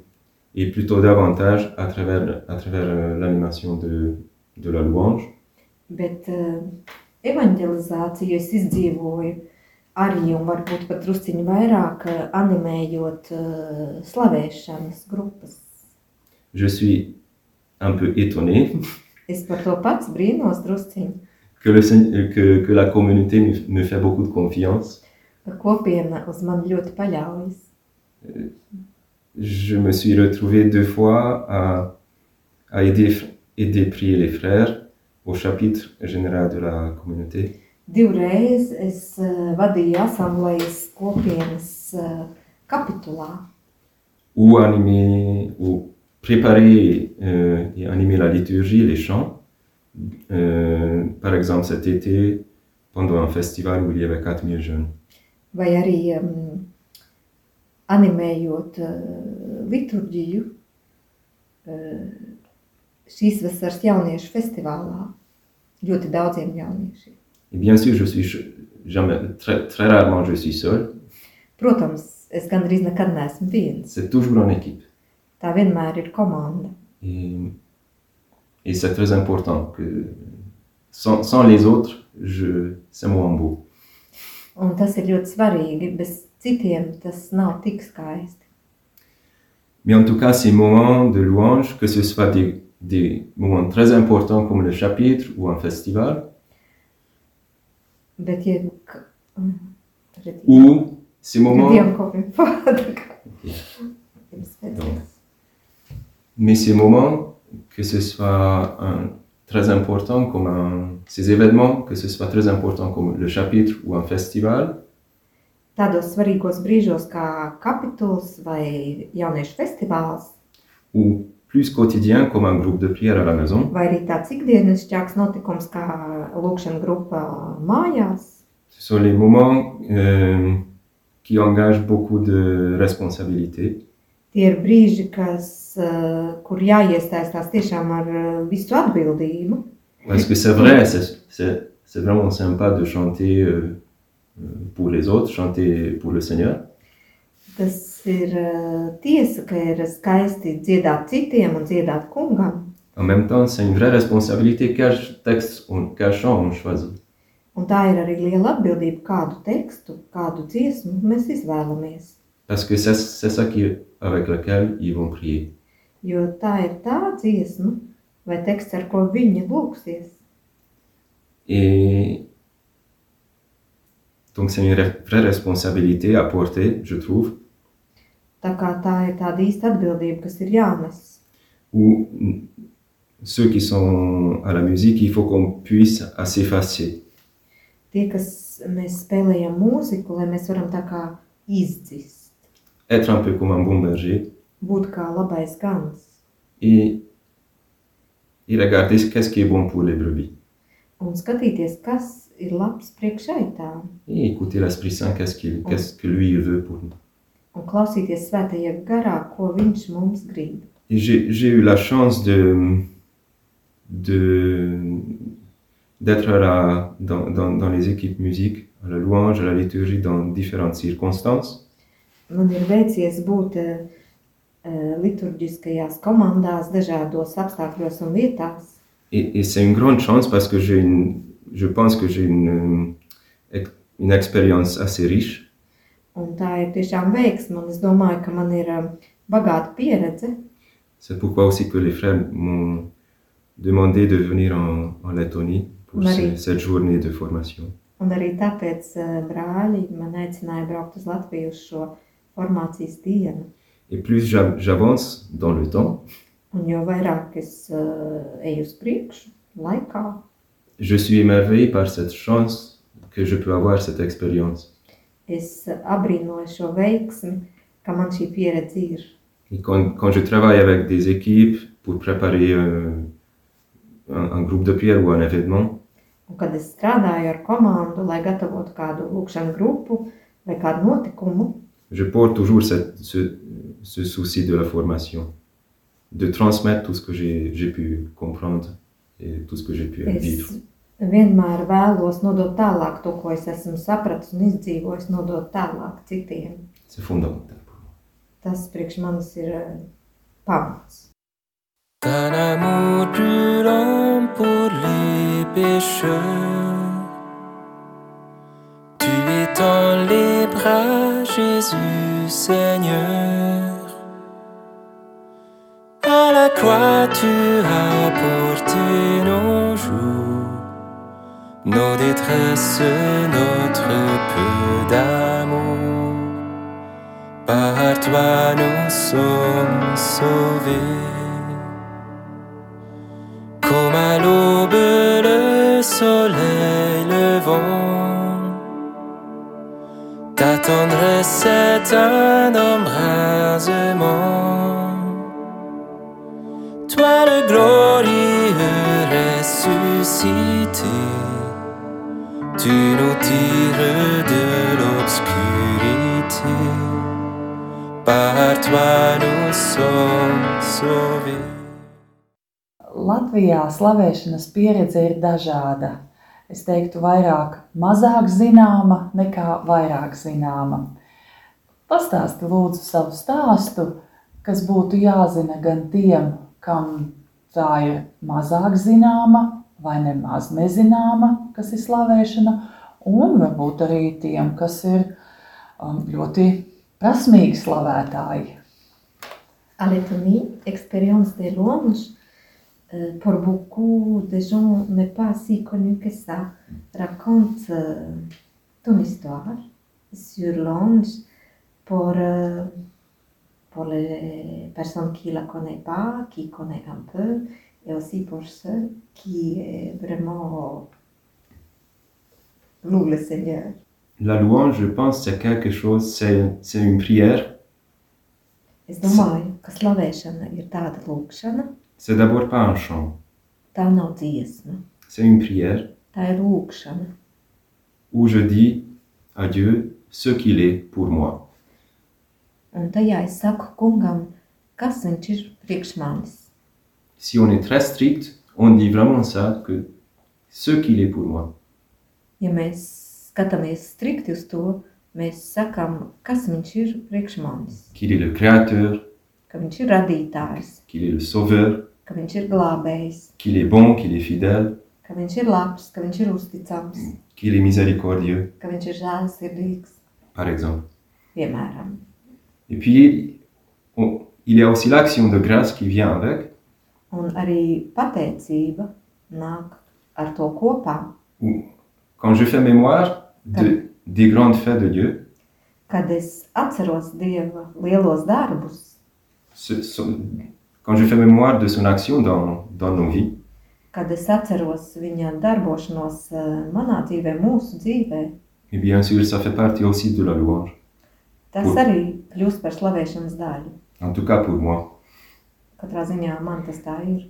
Speaker 5: et plutôt davantage à travers, à travers euh, l'animation de, de la louange
Speaker 4: Bet uh, evanģelizāciju es izdzīvoju arī, un varbūt pat drusciņu vairāk, eh, animējot uh, slavēšanas grupas.
Speaker 5: Je suis un peu étonné *laughs*
Speaker 4: Es par to pats brīnos drusciņu,
Speaker 5: que, le, Seigne- que, que la communauté me, me fait beaucoup de confiance.
Speaker 4: ka kopiena uz mani ļoti paļaujas.
Speaker 5: Je me suis retrouvé deux fois à, à aider, aider prier les frères au chapitre général de la communauté.
Speaker 4: Divreiz es eh, vadīju asamblejas kopienas eh, kapitulā.
Speaker 5: ou animer ou préparer euh, et animer la liturgie, les chants. Euh, par exemple, cet été, pendant un festival où il y avait 4000 jeunes.
Speaker 4: vai arī um, animējot uh, liturģiju uh, šīs vasaras jauniešu festivālā ļoti daudziem jauniešiem.
Speaker 5: Et bien sûr, je suis ch- jamais, très, très rarement, je suis seul.
Speaker 4: Protams, es gandrīz nekad neesmu viens.
Speaker 5: C'est toujours en équipe.
Speaker 4: Tā vienmēr ir komanda.
Speaker 5: Et, et c'est très important que sans, sans les autres, je, c'est moins beau.
Speaker 4: Un tas ir ļoti svarīgi. Bez citiem tas nav tik skaisti.
Speaker 5: Mais en tout cas, ces moments de louange, que ce soit des, des moments très importants comme le chapitre ou un festival,
Speaker 4: Bet, ja k- mm, tagad-
Speaker 5: ou ces moments,
Speaker 4: gadiem kopiem pārāk. Pirms
Speaker 5: Donc,
Speaker 4: pēdējās.
Speaker 5: mais ces moments, que ce soit un- très important comme un- ces événements, que ce soit très important comme le chapitre ou un festival,
Speaker 4: tādos svarīgos brīžos kā kapituls vai jauniešu festivāls,
Speaker 5: ou plus quotidien comme un groupe de prière à la maison,
Speaker 4: vai arī tāds ikdienišķāks notikums kā lūkšana grupa mājās.
Speaker 5: ce sont les moments euh, qui engagent beaucoup de responsabilités.
Speaker 4: Tie ir brīži, kas, eh, kur jāiesaistās tiešām ar eh, visu atbildību.
Speaker 5: Parce que c'est vrai, c'est- c'est c'est vraiment sympa de chanter euh, euh, pour les autres, chanter pour le Seigneur.
Speaker 4: Tas ir eh, tiesa, ka ir skaisti dziedāt citiem un dziedāt kungam.
Speaker 5: En même temps, c'est une vraie responsabilité quel texte, on, quel chant on choisit.
Speaker 4: Un tā ir arī liela atbildība, kādu tekstu, kādu dziesmu mēs izvēlamies.
Speaker 5: Parce que c'est c'est ça qui, avec lequel ils vont prier.
Speaker 4: Jo tā ir tā dziesma, vai teksts, ar ko viņi lūgsies.
Speaker 5: Et donc c'est une re- vraie responsabilité à porter, je trouve,
Speaker 4: Tā kā tā ir tāda īsta atbildība, kas ir jānes.
Speaker 5: où ceux qui sont à la musique, il faut qu'on puisse à s'effacer.
Speaker 4: Tie, kas mēs spēlējam mūziku, lai mēs varam tā kā izdzist,
Speaker 5: Être un peu comme un bon berger
Speaker 4: būt kā labais gans
Speaker 5: et, et regarder ce- qu'est-ce qui est bon pour les brebis.
Speaker 4: un skatīties, kas ir labs priekšaitām
Speaker 5: Et écouter l'Esprit Saint, qu'est-ce qu'il- qu'est-ce que lui il veut pour nous.
Speaker 4: un klausīties svētajā garā, ko viņš mums grib.
Speaker 5: Et J'ai j'ai eu la chance de de- d'être là dans, dans, dans les équipes musique, à la louange, à la liturgie, dans différentes circonstances.
Speaker 4: Man ir veicies būt eh, eh, liturģiskajās komandās, dažādos apstākļos un vietās.
Speaker 5: Et, et c'est une grande chance parce que j'ai une, je pense que j'ai une, euh, ex- une expérience assez riche.
Speaker 4: Un tā ir tiešām veiksme, un es domāju, ka man ir um, bagāta pieredze.
Speaker 5: C'est pourquoi aussi que les frères m'ont demandé de venir en, en Lettonie pour ce-
Speaker 4: Marie.
Speaker 5: cette journée de formation.
Speaker 4: Un arī tāpēc eh, brāļi man aicināja braukt uz Latviju uz šo formācijas dienu.
Speaker 5: Et plus j'a- j'avance dans le temps,
Speaker 4: Un jo vairāk es eh, eju uz priekšu, laikā,
Speaker 5: Je suis émerveillé par cette chance que je peux avoir cette expérience.
Speaker 4: es eh, abrīnoju šo veiksmi, ka man šī pieredze ir.
Speaker 5: Et quand, quand je travaille avec des équipes pour préparer euh, un, un groupe de prière ou un événement,
Speaker 4: Un kad es strādāju ar komandu, lai gatavotu kādu lūkšanu grupu vai kādu notikumu,
Speaker 5: je porte toujours cette- ce, ce souci de la formation, de transmettre tout ce que j'ai j'ai pu comprendre et tout ce que j'ai pu vivre.
Speaker 4: Es vienmēr vēlos nodot tālāk to, ko es esmu sapratis un izdzīvojis, nodot tālāk citiem.
Speaker 5: C'est fondamental pour moi.
Speaker 4: Tas priekš manis ir eh, pamats.
Speaker 7: D'un amour plus long pour les pécheurs. Tu es dans les bras, Jésus Seigneur. À la croix, tu as porté nos jours, nos détresses, notre peu d'amour. Par toi, nous sommes sauvés. Comme à l'aube le soleil levant, ta tendresse est un embrasement. Toi le glorieux ressuscité, tu nous tires de l'obscurité. Par toi nous sommes sauvés.
Speaker 8: Latvijā slavēšanas pieredze ir dažāda. Es teiktu, vairāk mazāk zināma nekā vairāk zināma. Pastāsti lūdzu savu stāstu, kas būtu jāzina gan tiem, kam tā ir mazāk zināma vai nemaz nezināma, kas ir slavēšana, un varbūt arī tiem, kas ir um, ļoti prasmīgi slavētāji.
Speaker 4: À Lettonie, expérience des louanges, euh, pour beaucoup de gens n'est pas si connue que ça, raconte euh, ton histoire sur l'ange pour, euh, pour les personnes qui ne la connaissent pas, qui connaissent un peu, et aussi pour ceux qui euh, vraiment eh, louent le Seigneur.
Speaker 5: La louange, je pense, c'est quelque chose, c'est c'est une prière.
Speaker 4: Es domāju, ka slavēšana ir tāda lūkšana,
Speaker 5: C'est d'abord pas un chant,
Speaker 4: tā nav dziesma,
Speaker 5: c'est une prière
Speaker 4: tā ir lūkšana.
Speaker 5: où je dis à Dieu ce qu'il est pour moi.
Speaker 4: Un tajā es saku kungam, kas viņš ir priekš manis.
Speaker 5: Si on est très strict, on dit vraiment ça, que ce qu'il est pour moi.
Speaker 4: Ja mēs skatāmies strikti uz to, mēs sakām, kas viņš ir priekš manis,
Speaker 5: Qu'il est le créateur,
Speaker 4: ka viņš ir radītājs,
Speaker 5: qu'il est le sauveur,
Speaker 4: ka viņš ir glābējs,
Speaker 5: qu'il est bon, qu'il est fidèle,
Speaker 4: ka viņš ir labs, ka viņš ir uzticams,
Speaker 5: qu'il est miséricordieux,
Speaker 4: ka viņš ir žēlsirdīgs,
Speaker 5: par exemple.
Speaker 4: piemēram.
Speaker 5: Et puis, on- il y a aussi l'action de grâce qui vient avec,
Speaker 4: Un arī pateicība nāk ar to kopā,
Speaker 5: où quand je fais mémoire de, des grandes faits de Dieu,
Speaker 4: kad es atceros Dieva lielos darbus,
Speaker 5: ce- son- quand je fais mémoire de son action dans, dans nos vies,
Speaker 4: kad es atceros viņa darbošanos eh, manā dzīvē, mūsu dzīvē.
Speaker 5: et eh bien sûr, ça fait partie aussi de la louange.
Speaker 4: Tas
Speaker 5: Mm.
Speaker 4: arī kļūst par slavēšanas daļu.
Speaker 5: En tout cas pour moi.
Speaker 4: Katrā ziņā man tas tā ir.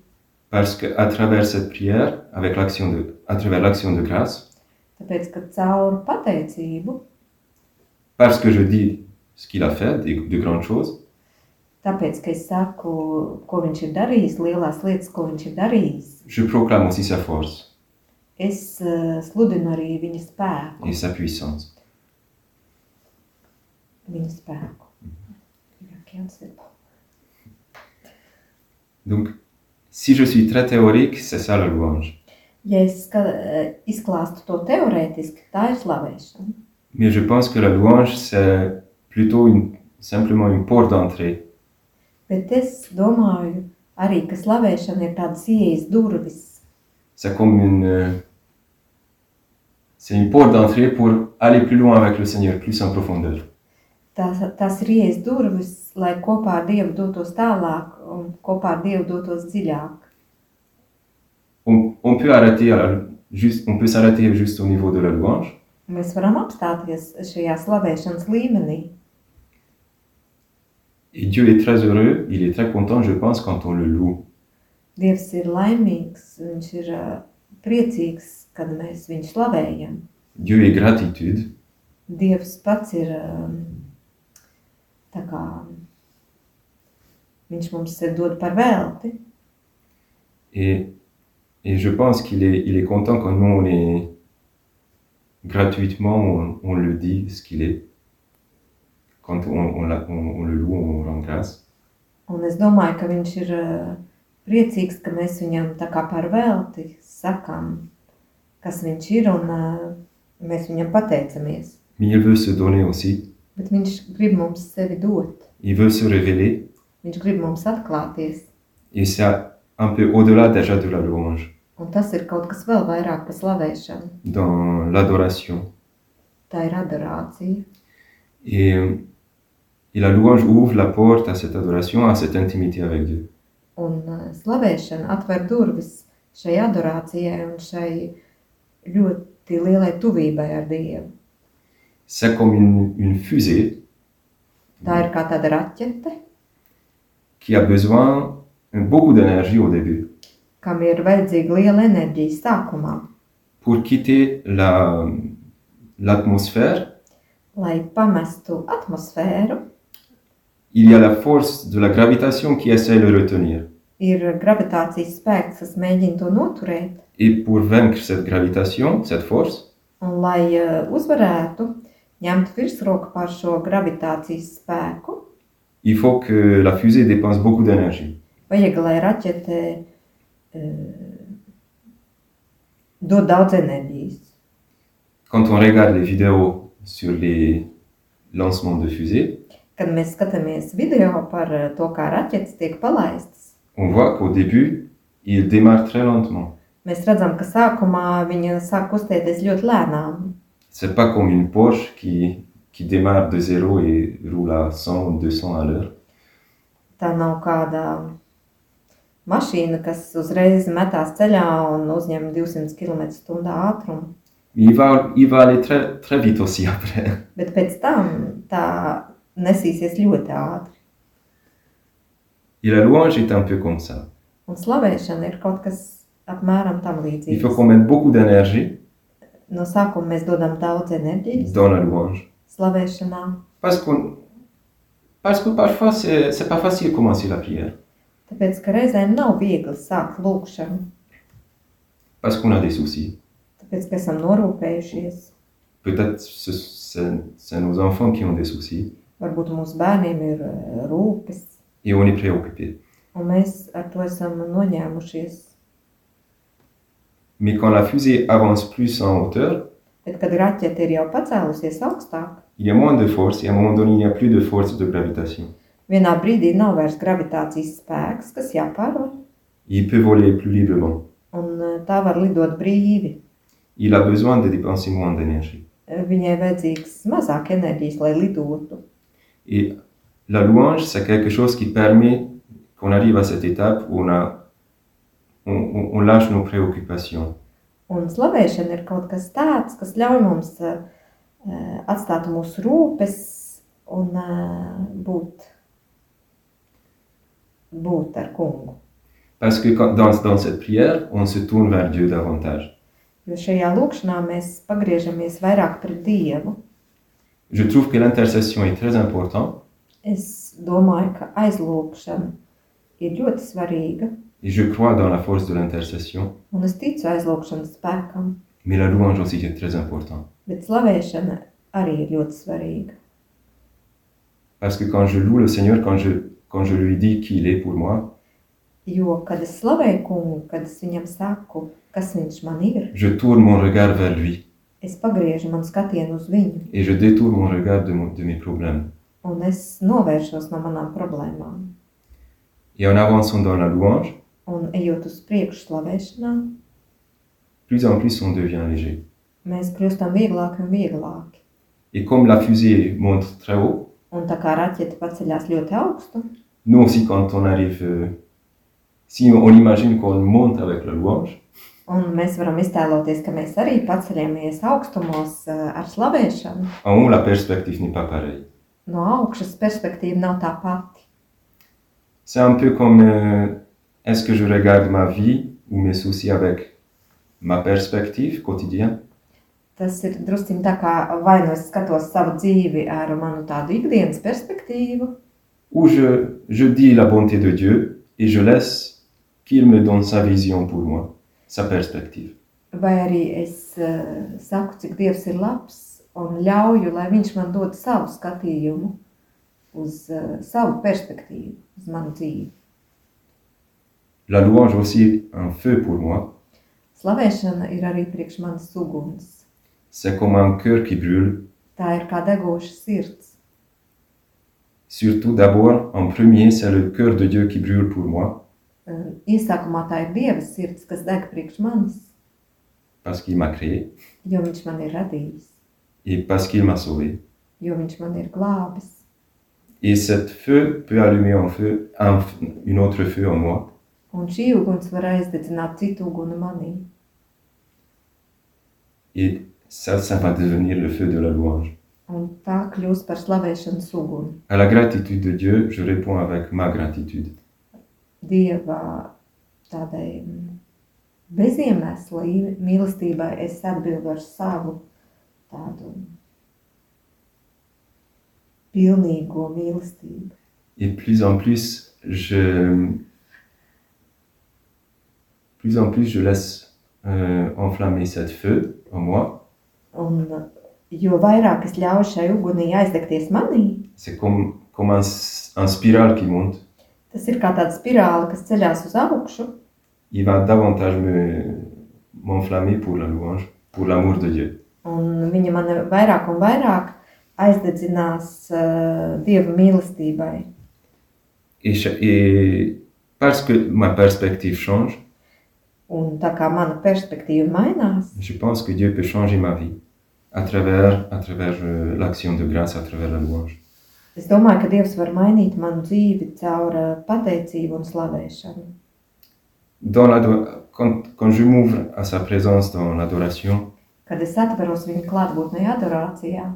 Speaker 5: Parce qu'à travers cette prière, avec l'action de, à travers l'action de grâce,
Speaker 4: Tāpēc, ka caur pateicību,
Speaker 5: parce que je dis ce qu'il a fait, des- de grandes choses,
Speaker 4: tāpēc, ka es saku, ko viņš ir darījis, lielās lietas, ko viņš ir darījis,
Speaker 5: je proclame aussi sa force
Speaker 4: es eh, sludinu arī viņa spēku.
Speaker 5: et sa puissance.
Speaker 4: Viņa spēku. Jā, Kjans ir pa-
Speaker 5: Donc, si je suis très théorique, c'est ça la louange.
Speaker 4: Ja es ska, eh, izklāstu to teorētiski, tā ir slavēšana.
Speaker 5: Mais je pense que la louange, c'est plutôt une, simplement une porte d'entrée.
Speaker 4: Bet es domāju, arī ka slavēšana ir tāds ieejas durvis,
Speaker 5: C'est comme une... euh, c'est une porte d'entrée pour aller plus loin avec le Seigneur, plus en profondeur.
Speaker 4: tās, tās ir ieejas durvis, lai kopā ar Dievu dotos tālāk un kopā ar Dievu dotos dziļāk.
Speaker 5: On, on peut arrêter à la- juste, on peut s'arrêter juste au niveau de la louange.
Speaker 4: Mēs varam apstāties šajā slavēšanas līmenī,
Speaker 5: Et Dieu est très heureux, il est très content, je pense, quand on le loue.
Speaker 4: Dievs ir laimīgs, viņš ir ā, priecīgs, kad mēs viņu slavējam.
Speaker 5: Dieu est gratitude,
Speaker 4: Dievs pats ir ā, tā kā viņš mums ir dod par velti.
Speaker 5: et, et je pense qu'il est, il est content quand nous, on est gratuitement, on, on le dit ce qu'il est. Quand on, on, l'a- on- on le loue, on l'embrasse.
Speaker 4: Un es domāju, eh, ka viņš ir ā, priecīgs, ka mēs viņam tā kā par velti sakām kas viņš ir, un uh, mēs viņam pateicamies.
Speaker 5: Mais il veut se donner aussi.
Speaker 4: Bet viņš grib mums sevi dot,
Speaker 5: Il veut se révéler.
Speaker 4: viņš grib mums atklāties,
Speaker 5: Et c'est un peu au-delà déjà de la louange,
Speaker 4: un tas ir kaut kas vēl vairāk par slavēšanu.
Speaker 5: dans l'adoration.
Speaker 4: Tā ir adorācija.
Speaker 5: Et, et la louange ouvre la porte à cette adoration, à cette intimité avec Dieu.
Speaker 4: Un ā, slavēšana atver durvis šai adorācijai un šai ļoti lielai tuvībai ar Dievu.
Speaker 5: C'est comme une, une fusée
Speaker 4: Tā ir kā tāda raķete,
Speaker 5: qui a besoin de beaucoup d'énergie au début
Speaker 4: kam ir vajadzīga liela enerģija sākumā,
Speaker 5: pour quitter la- l'atmosphère.
Speaker 4: lai pamestu atmosfēru.
Speaker 5: il y a la force de la gravitation qui essaie de le retenir.
Speaker 4: Ir gravitācijas spēks, kas mēģina to noturēt,
Speaker 5: Et pour vaincre cette gravitation, cette force,
Speaker 4: un lai ā, uzvarētu, ņemtu virsroku pār šo gravitācijas spēku,
Speaker 5: il faut que la fusée dépense beaucoup d'énergie.
Speaker 4: vajag, lai raķete ā, dod daudz enerģijas.
Speaker 5: Quand on regarde les vidéos sur les lancements de fusées,
Speaker 4: Kad mēs skatāmies video par eh, to, kā raķetes tiek palaistas,
Speaker 5: on voit qu'au début, il démarre très lentement.
Speaker 4: mēs redzam, ka sākumā viņa sāk kustēties ļoti lēnām.
Speaker 5: C'est pas comme une Porsche qui, qui démarre de zéro et roule à 100 ou 200 à l'heure.
Speaker 4: Tā nav kāda mašīna, kas uzreiz metās ceļā un uzņem 200 km/h ātrumu.
Speaker 5: Il va, il va aller très, très vite aussi *laughs* après.
Speaker 4: Bet pēc tam tā nesīsies ļoti ātri.
Speaker 5: Et la louange est un peu comme ça.
Speaker 4: Un slavēšana ir kaut kas apmēram tam
Speaker 5: Il faut
Speaker 4: līdzīgs.
Speaker 5: qu'on mette beaucoup d'énergie
Speaker 4: No sākuma mēs dodam daudz enerģijas
Speaker 5: dans la louange.
Speaker 4: slavēšanā,
Speaker 5: Parce, qu'on, parce que parfois, c'est c'est pas facile de commencer la prière.
Speaker 4: tāpēc ka reizēm nav viegli sākt lūgšanu.
Speaker 5: Parce qu'on a des soucis.
Speaker 4: Tāpēc, ka esam norūpējušies,
Speaker 5: Peut-être ce- c'est c'est nos enfants qui ont des soucis
Speaker 4: varbūt mūsu bērniem ir eh, rūpes,
Speaker 5: et on est préoccupé.
Speaker 4: un mēs ar to esam noņēmušies.
Speaker 5: Mais quand la fusée avance plus en hauteur,
Speaker 4: Bet, kad raķete ir jau pacēlusies augstāk,
Speaker 5: il y a moins de force et à un moment donné, il n'y a plus de force de gravitation.
Speaker 4: vienā brīdī nav vairs gravitācijas spēks, kas jāpārvar,
Speaker 5: Il peut voler plus librement.
Speaker 4: un eh, tā var lidot brīvi.
Speaker 5: Il a besoin de dépenser moins d'énergie.
Speaker 4: Eh, Viņai vajadzīgs mazāk enerģijas, lai lidotu.
Speaker 5: Et la louange, c'est quelque chose qui permet qu'on arrive à cette étape où on, a, on- on- on lâche nos préoccupations.
Speaker 4: Un slavēšana ir kaut kas tāds, kas ļauj mums eh, eh, atstāt mūsu rūpes un eh, būt, būt ar kungu.
Speaker 5: Parce que quand- dans, dans cette prière, on se tourne vers Dieu davantage.
Speaker 4: Jo šajā lūkšanā mēs pagriežamies vairāk pret Dievu.
Speaker 5: Je trouve que l'intercession est très importante
Speaker 4: Es domāju, ka aizlūkšana ir ļoti svarīga,
Speaker 5: et je crois dans la force de l'intercession,
Speaker 4: un es ticu aizlūkšanas spēkam,
Speaker 5: mais la louange aussi est très importante.
Speaker 4: bet slavēšana arī ir ļoti svarīga.
Speaker 5: Parce que quand je loue le Seigneur, quand je, quand je lui dis qui il est pour moi,
Speaker 4: Jo, kad es slavēju kungu, kad es viņam saku, kas viņš man ir,
Speaker 5: je tourne mon regard vers lui
Speaker 4: es pagriežu man skatienu uz viņu,
Speaker 5: et je détourne mon regard de, mon- de mes problèmes.
Speaker 4: un es novēršos no manām problēmām.
Speaker 5: Et en avançant dans la louange,
Speaker 4: Un ejot uz priekšu slavēšanā,
Speaker 5: plus en plus on devient léger.
Speaker 4: mēs kļūstam vieglāki un vieglāki.
Speaker 5: Et comme la fusée monte très haut,
Speaker 4: Un tā kā raķete paceļās ļoti augstu,
Speaker 5: nous aussi quand on arrive, euh, si on imagine qu'on monte avec la louange,
Speaker 4: Un mēs varam iztēloties, ka mēs arī paceļamies augstumos eh, ar slavēšanu.
Speaker 5: En haut, la perspective n'est pas pareille.
Speaker 4: No augšas perspektīva nav tā pati.
Speaker 5: C'est un peu comme euh, est-ce que je regarde ma vie ou mes soucis avec ma perspective quotidienne
Speaker 4: Tas ir druskuļi tā kā vai nu es skatos savu dzīvi ar manu tādu ikdienas perspektīvu,
Speaker 5: ou je, je dis la bonté de Dieu et je laisse qu'il me donne sa vision pour moi, sa perspective.
Speaker 4: vai arī es eh, saku, cik Dievs ir labs un ļauju, lai Viņš man dod savu skatījumu, uz eh, savu perspektīvu, uz manu dzīvi.
Speaker 5: La louange aussi est un feu pour moi
Speaker 4: Slavēšana ir arī priekš manis uguns.
Speaker 5: C'est comme un cœur qui brûle,
Speaker 4: Tā ir kā degoša sirds.
Speaker 5: Surtout d'abord, en premier, c'est le cœur de Dieu qui brûle pour moi,
Speaker 4: Um, Iesākumā tā ir dieva sirds, kas deg priekš manis,
Speaker 5: parce qu'il m'a créé
Speaker 4: jo viņš man ir radījis,
Speaker 5: et parce qu'il m'a sauvé.
Speaker 4: jo viņš man ir glābis.
Speaker 5: Et cet feu peut allumer un feu, un, une autre feu en moi.
Speaker 4: Un šī uguns var aizdedzināt citu uguni manī.
Speaker 5: Et ça, ça va devenir le feu de la louange.
Speaker 4: Un tā kļūst par slavēšanas uguni.
Speaker 5: À la gratitude de Dieu, je réponds avec ma gratitude.
Speaker 4: Dieva tādai mm, beziemesla ī- mīlestībai es atbildu ar savu tādu pilnīgo mīlestību.
Speaker 5: Et plus en plus, je, plus en plus, je laisse euh, enflammer cet feu en moi.
Speaker 4: Un, jo vairāk es ļauju šai ugunī aizdegties manī,
Speaker 5: C'est comme, comme un, s- un spiral qui monte.
Speaker 4: tas ir kā tāda spirāli, kas ceļās uz augšu.
Speaker 5: Il va davantage me, m'enflammer pour la louange, pour l'amour de Dieu.
Speaker 4: Un viņa man vairāk un vairāk aizdedzinās uh, dieva mīlestībai.
Speaker 5: Et, cha- et parce que ma perspective change,
Speaker 4: Un tā kā mana perspektīva mainās,
Speaker 5: je pense que Dieu peut changer ma vie à travers, à travers euh, l'action de grâce, à travers la louange.
Speaker 4: Es domāju, ka Dievs var mainīt manu dzīvi caur ā, pateicību un slavēšanu.
Speaker 5: Dans l'ado- quand, quand je m'ouvre à sa présence dans l'adoration,
Speaker 4: Kad es atveros viņa klātbūtnē, adorācijā,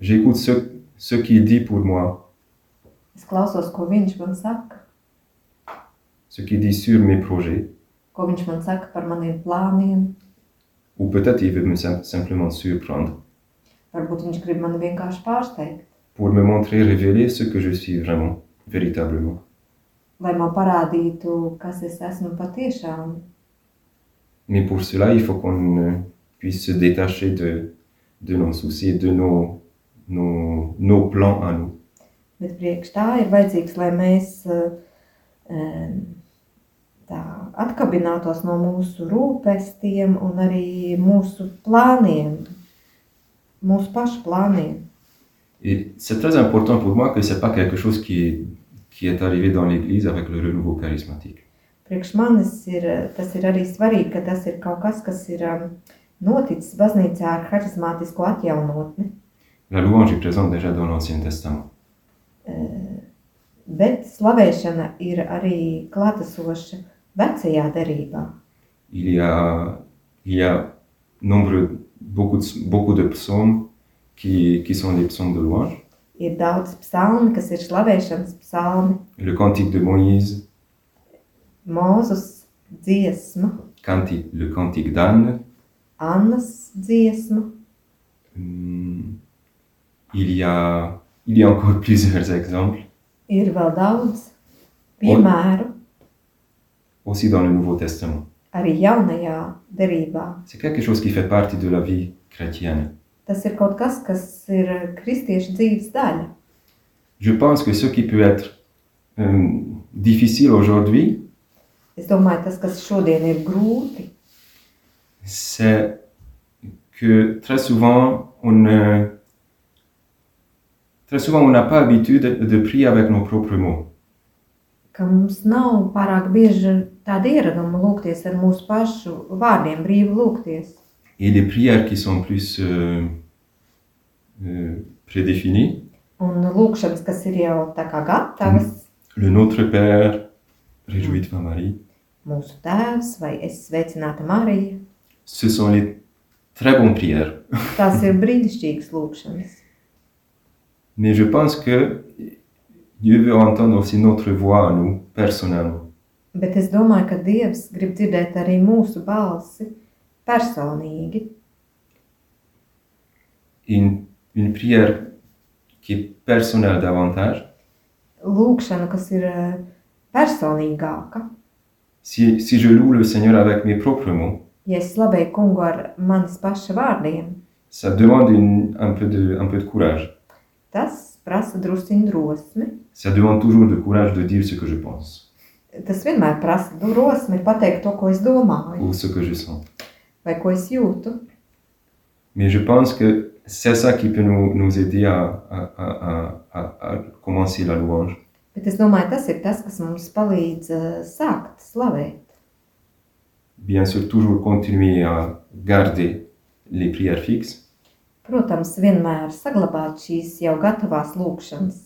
Speaker 5: j'écoute ce, ce qu'il dit pour moi,
Speaker 4: es klausos, ko viņš man saka,
Speaker 5: ce qu'il dit sur mes projets,
Speaker 4: ko viņš man saka par maniem plāniem.
Speaker 5: ou peut-être il veut me sim- simplement surprendre
Speaker 4: Varbūt viņš grib mani vienkārši pārsteigt,
Speaker 5: pour me montrer, révéler ce que je suis vraiment, véritablement.
Speaker 4: lai man parādītu, kas es esmu patiešām.
Speaker 5: Mais pour cela, il faut qu'on euh, puisse se détacher de, de nos soucis, de nos, nos, nos plans à nous.
Speaker 4: Bet priekš tā ir vajadzīgs, lai mēs ā, em, tā atkabinātos no mūsu rūpestiem un arī mūsu plāniem, mūsu pašu plāniem.
Speaker 5: Et c'est très important pour moi que ce n'est pas quelque chose qui est, qui est arrivé dans l'Église avec le renouveau charismatique.
Speaker 4: Priekš manis ir, eh, tas ir arī svarīgi, ka tas ir kaut kas, kas ir em, noticis baznīcā ar harizmātisko atjaunotni.
Speaker 5: La louange est présente déjà dans l'Ancien Testament.
Speaker 4: Bet slavēšana ir arī klātesoša vecajā derībā.
Speaker 5: Il y a, il y a nombreux, beaucoup, de, beaucoup de psaumes qui, qui sont des psaumes de louange.
Speaker 4: Ir daudz psalmu, kas ir slavēšanas psalmi,
Speaker 5: Le cantique de Moïse,
Speaker 4: Mozus dziesma,
Speaker 5: cantique, le cantique d'Anne.
Speaker 4: Annas dziesma.
Speaker 5: Hum, Il y, a, il y a encore *laughs* plusieurs exemples,
Speaker 4: Ir vēl daudz piemēru
Speaker 5: aussi dans le Nouveau Testament.
Speaker 4: arī jaunajā derībā.
Speaker 5: C'est quelque chose qui fait partie de la vie chrétienne.
Speaker 4: Tas ir kaut kas, kas ir eh, kristiešu dzīves daļa.
Speaker 5: Je pense que ce qui peut être euh, difficile aujourd'hui,
Speaker 4: Es domāju, tas, kas šodien ir grūti,
Speaker 5: c'est que très souvent, on euh, très souvent, on n'a pas habitude de prier avec nos propres mots.
Speaker 4: ka mums nav pārāk bieži tāda ieraduma lūgties ar mūsu pašu vārdiem, brīvi lūgties.
Speaker 5: Et les prières qui sont plus euh, euh, prédéfinies,
Speaker 4: Un lūkšanas, kas ir jau tā kā gatavas,
Speaker 5: le Notre Père, réjouis-toi Marie,
Speaker 4: mūsu tēvs vai es sveicināta Marija,
Speaker 5: ce sont les très bonnes prières.
Speaker 4: tās ir brīnišķīgas lūkšanas.
Speaker 5: Mais je pense que Dieu veut entendre aussi notre voix à nous, personnellement.
Speaker 4: Bet es domāju, ka Dievs grib dzirdēt arī mūsu balsi personīgi.
Speaker 5: une, une prière qui est personnelle davantage.
Speaker 4: Lūkšana, kas ir eh, personīgāka.
Speaker 5: Si, si je loue le Seigneur avec mes propres mots,
Speaker 4: Ja es slavēju kungu ar manis paša vārdiem,
Speaker 5: ça demande une- un, peu de, un peu de courage.
Speaker 4: tas prasa drusciņu drosmi.
Speaker 5: Ça demande toujours le courage de dire ce que je pense.
Speaker 4: tas vienmēr prasa nu, drosmi pateikt to, ko es domāju
Speaker 5: ou ce que je sens.
Speaker 4: vai ko es jūtu.
Speaker 5: Mais je pense que c'est ça qui peut nous, nous aider à, à, à, à, à- à commencer la louange.
Speaker 4: Bet es domāju, tas ir tas, kas mums palīdz eh, sākt slavēt.
Speaker 5: Bien sûr, toujours continuer à garder les prières fixes,
Speaker 4: Protams, vienmēr saglabāt šīs jau gatavās lūkšanas,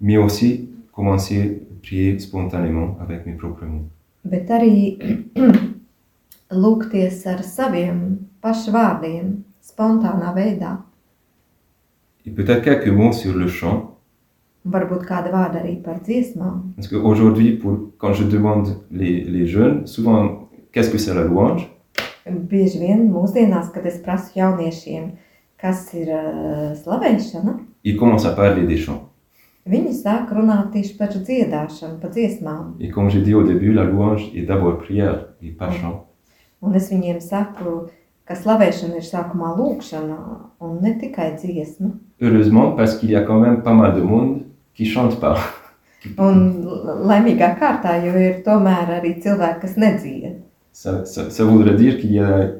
Speaker 5: mais aussi commencer à prier spontanément avec mes propres mots.
Speaker 4: bet arī *clears throat* lūgties ar saviem pašu vārdiem, spontānā veidā.
Speaker 5: Et peut-être quelques mots sur le chant,
Speaker 4: Un Varbūt kāda vārda arī par dziesmām.
Speaker 5: parce qu'aujourd'hui, quand je demande les, les jeunes, souvent, qu'est-ce que c'est la louange
Speaker 4: Bieži vien mūsdienās, kad es prasu jauniešiem, kas ir eh, slavēšana,
Speaker 5: Ils commencent à parler des chants.
Speaker 4: viņi sāk runāt tieši par dziedāšanu, par dziesmām.
Speaker 5: Et comme j'ai dit au début, la louange est d'abord prière et pas chant.
Speaker 4: Un es viņiem saku, ka slavēšana ir sākumā lūkšana un ne tikai dziesma.
Speaker 5: Heureusement, parce qu'il y a quand même pas mal de monde qui chante pas.
Speaker 4: Un laimīgā kārtā jau ir tomēr arī cilvēki, kas nedzied.
Speaker 5: Ça, ça- ça voudrait dire qu'il y a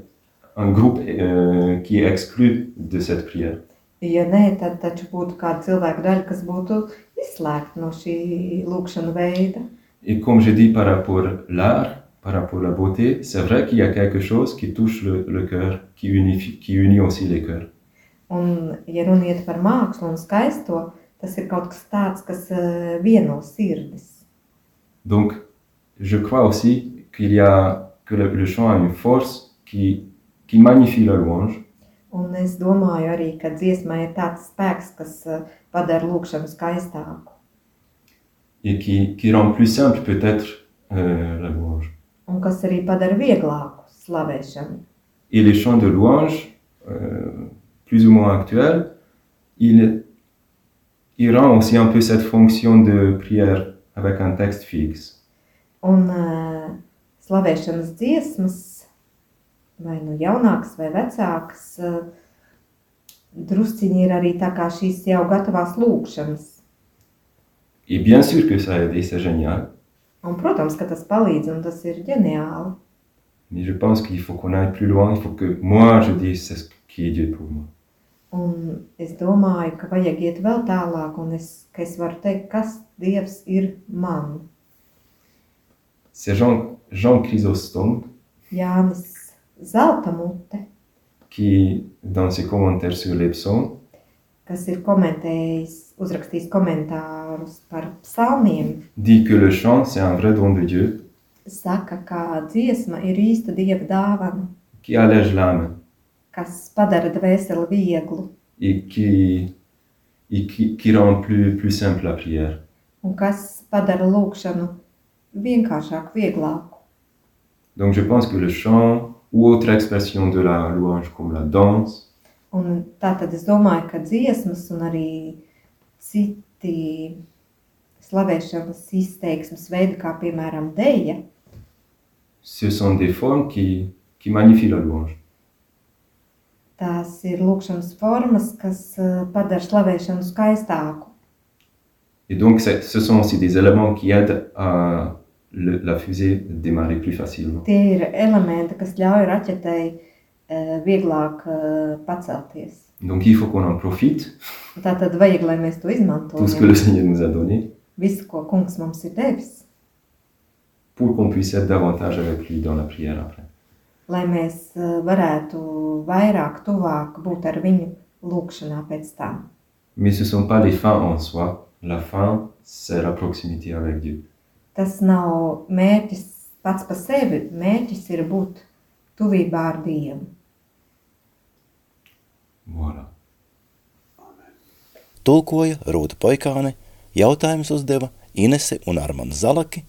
Speaker 5: un groupe euh, qui est exclu de cette prière.
Speaker 4: Ja nē, tad taču būtu kāda cilvēka daļa, kas būtu izslēgta no šī lūkšana veida.
Speaker 5: Et comme j'ai dit par rapport à l'art, par rapport à la beauté, c'est vrai qu'il y a quelque chose qui touche le, le cœur, qui unifie, qui unit aussi les cœurs.
Speaker 4: Un, ja runiet par mākslu un skaisto, tas ir kaut kas tāds, kas eh, vieno sirdis.
Speaker 5: Donc, je crois aussi qu'il y a que le, le chant a une force qui, qui magnifie la louange,
Speaker 4: Un es domāju arī, ka dziesmai ir tāds spēks, kas eh, padara lūkšanu skaistāku.
Speaker 5: et qui, qui rend plus simple peut-être euh, la louange.
Speaker 4: un kas arī padara vieglāku slavēšanu.
Speaker 5: Et les chants de louange, euh, plus ou moins actuels, il, il rend aussi un peu cette fonction de prière avec un texte fixe.
Speaker 4: Un uh, slavēšanas dziesmas, vai nu jaunākas, vai vecākas, uh, drusciņi ir arī tā kā šīs jau gatavās lūkšanas.
Speaker 5: Et bien sûr que ça aide et c'est génial,
Speaker 4: Un, protams, ka tas palīdz un tas ir ģeniāli.
Speaker 5: mais je pense qu'il faut qu'on aille plus loin, il faut que moi je dise c'est ce qui est Dieu pour moi.
Speaker 4: Un es domāju, ka vajag iet vēl tālāk, un es, ka es varu teikt, kas Dievs ir man.
Speaker 5: C'est Jean, Jean Chrysostome
Speaker 4: Jānis Zelta mute,
Speaker 5: qui, dans ses commentaires sur les psaumes,
Speaker 4: kas ir komentējis, uzrakstījis komentārus par psalmiem,
Speaker 5: dit que le chant c'est un vrai don de Dieu
Speaker 4: saka, ka dziesma ir īsta dieva dāvana,
Speaker 5: qui allège l'âme
Speaker 4: kas padara dvēseli vieglu
Speaker 5: et qui, et qui, qui rend plus, plus simple la prière.
Speaker 4: un kas padara lūkšanu vienkāršāku, vieglāku.
Speaker 5: Donc je pense que le chant ou autre expression de la louange comme la danse,
Speaker 4: Un tā tad es domāju, ka dziesmas un arī citi slavēšanas izteiksmes veidi, kā piemēram dēļa,
Speaker 5: ce sont des formes qui, qui magnifient la louange.
Speaker 4: tās ir lūkšanas formas, kas eh, padara slavēšanu skaistāku.
Speaker 5: Et donc c'est- ce sont aussi des éléments qui aident à le- la fusée démarrer plus facilement.
Speaker 4: Tie ir elementi, kas ļauj raķetei eh, vieglāk eh, pacelties.
Speaker 5: Donc il faut qu'on en profite,
Speaker 4: Tā tad vajag, lai mēs to
Speaker 5: tout ce que le
Speaker 4: izmantojam.
Speaker 5: Seigneur nous a donné,
Speaker 4: Visu, ko kungs mums ir devis,
Speaker 5: pour qu'on puisse être davantage avec lui dans la prière après.
Speaker 4: lai mēs eh, varētu vairāk, tuvāk būt ar viņu lūkšanā pēc tam.
Speaker 5: Mais ce ne sont pas les fins en soi. La fin, c'est la proximité avec Dieu.
Speaker 4: Tas nav mērķis pats par sevi. Mērķis ir būt tuvībā ar Dievu.
Speaker 5: Voilà.
Speaker 2: Tulkoja Rūta Poikāne, jautājums uzdeva Inese un Armand Zalaki.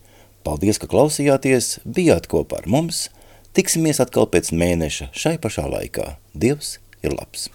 Speaker 2: Paldies, ka klausījāties, bijāt kopā ar mums. Tiksimies atkal pēc mēneša šai pašā laikā. Dievs ir labs!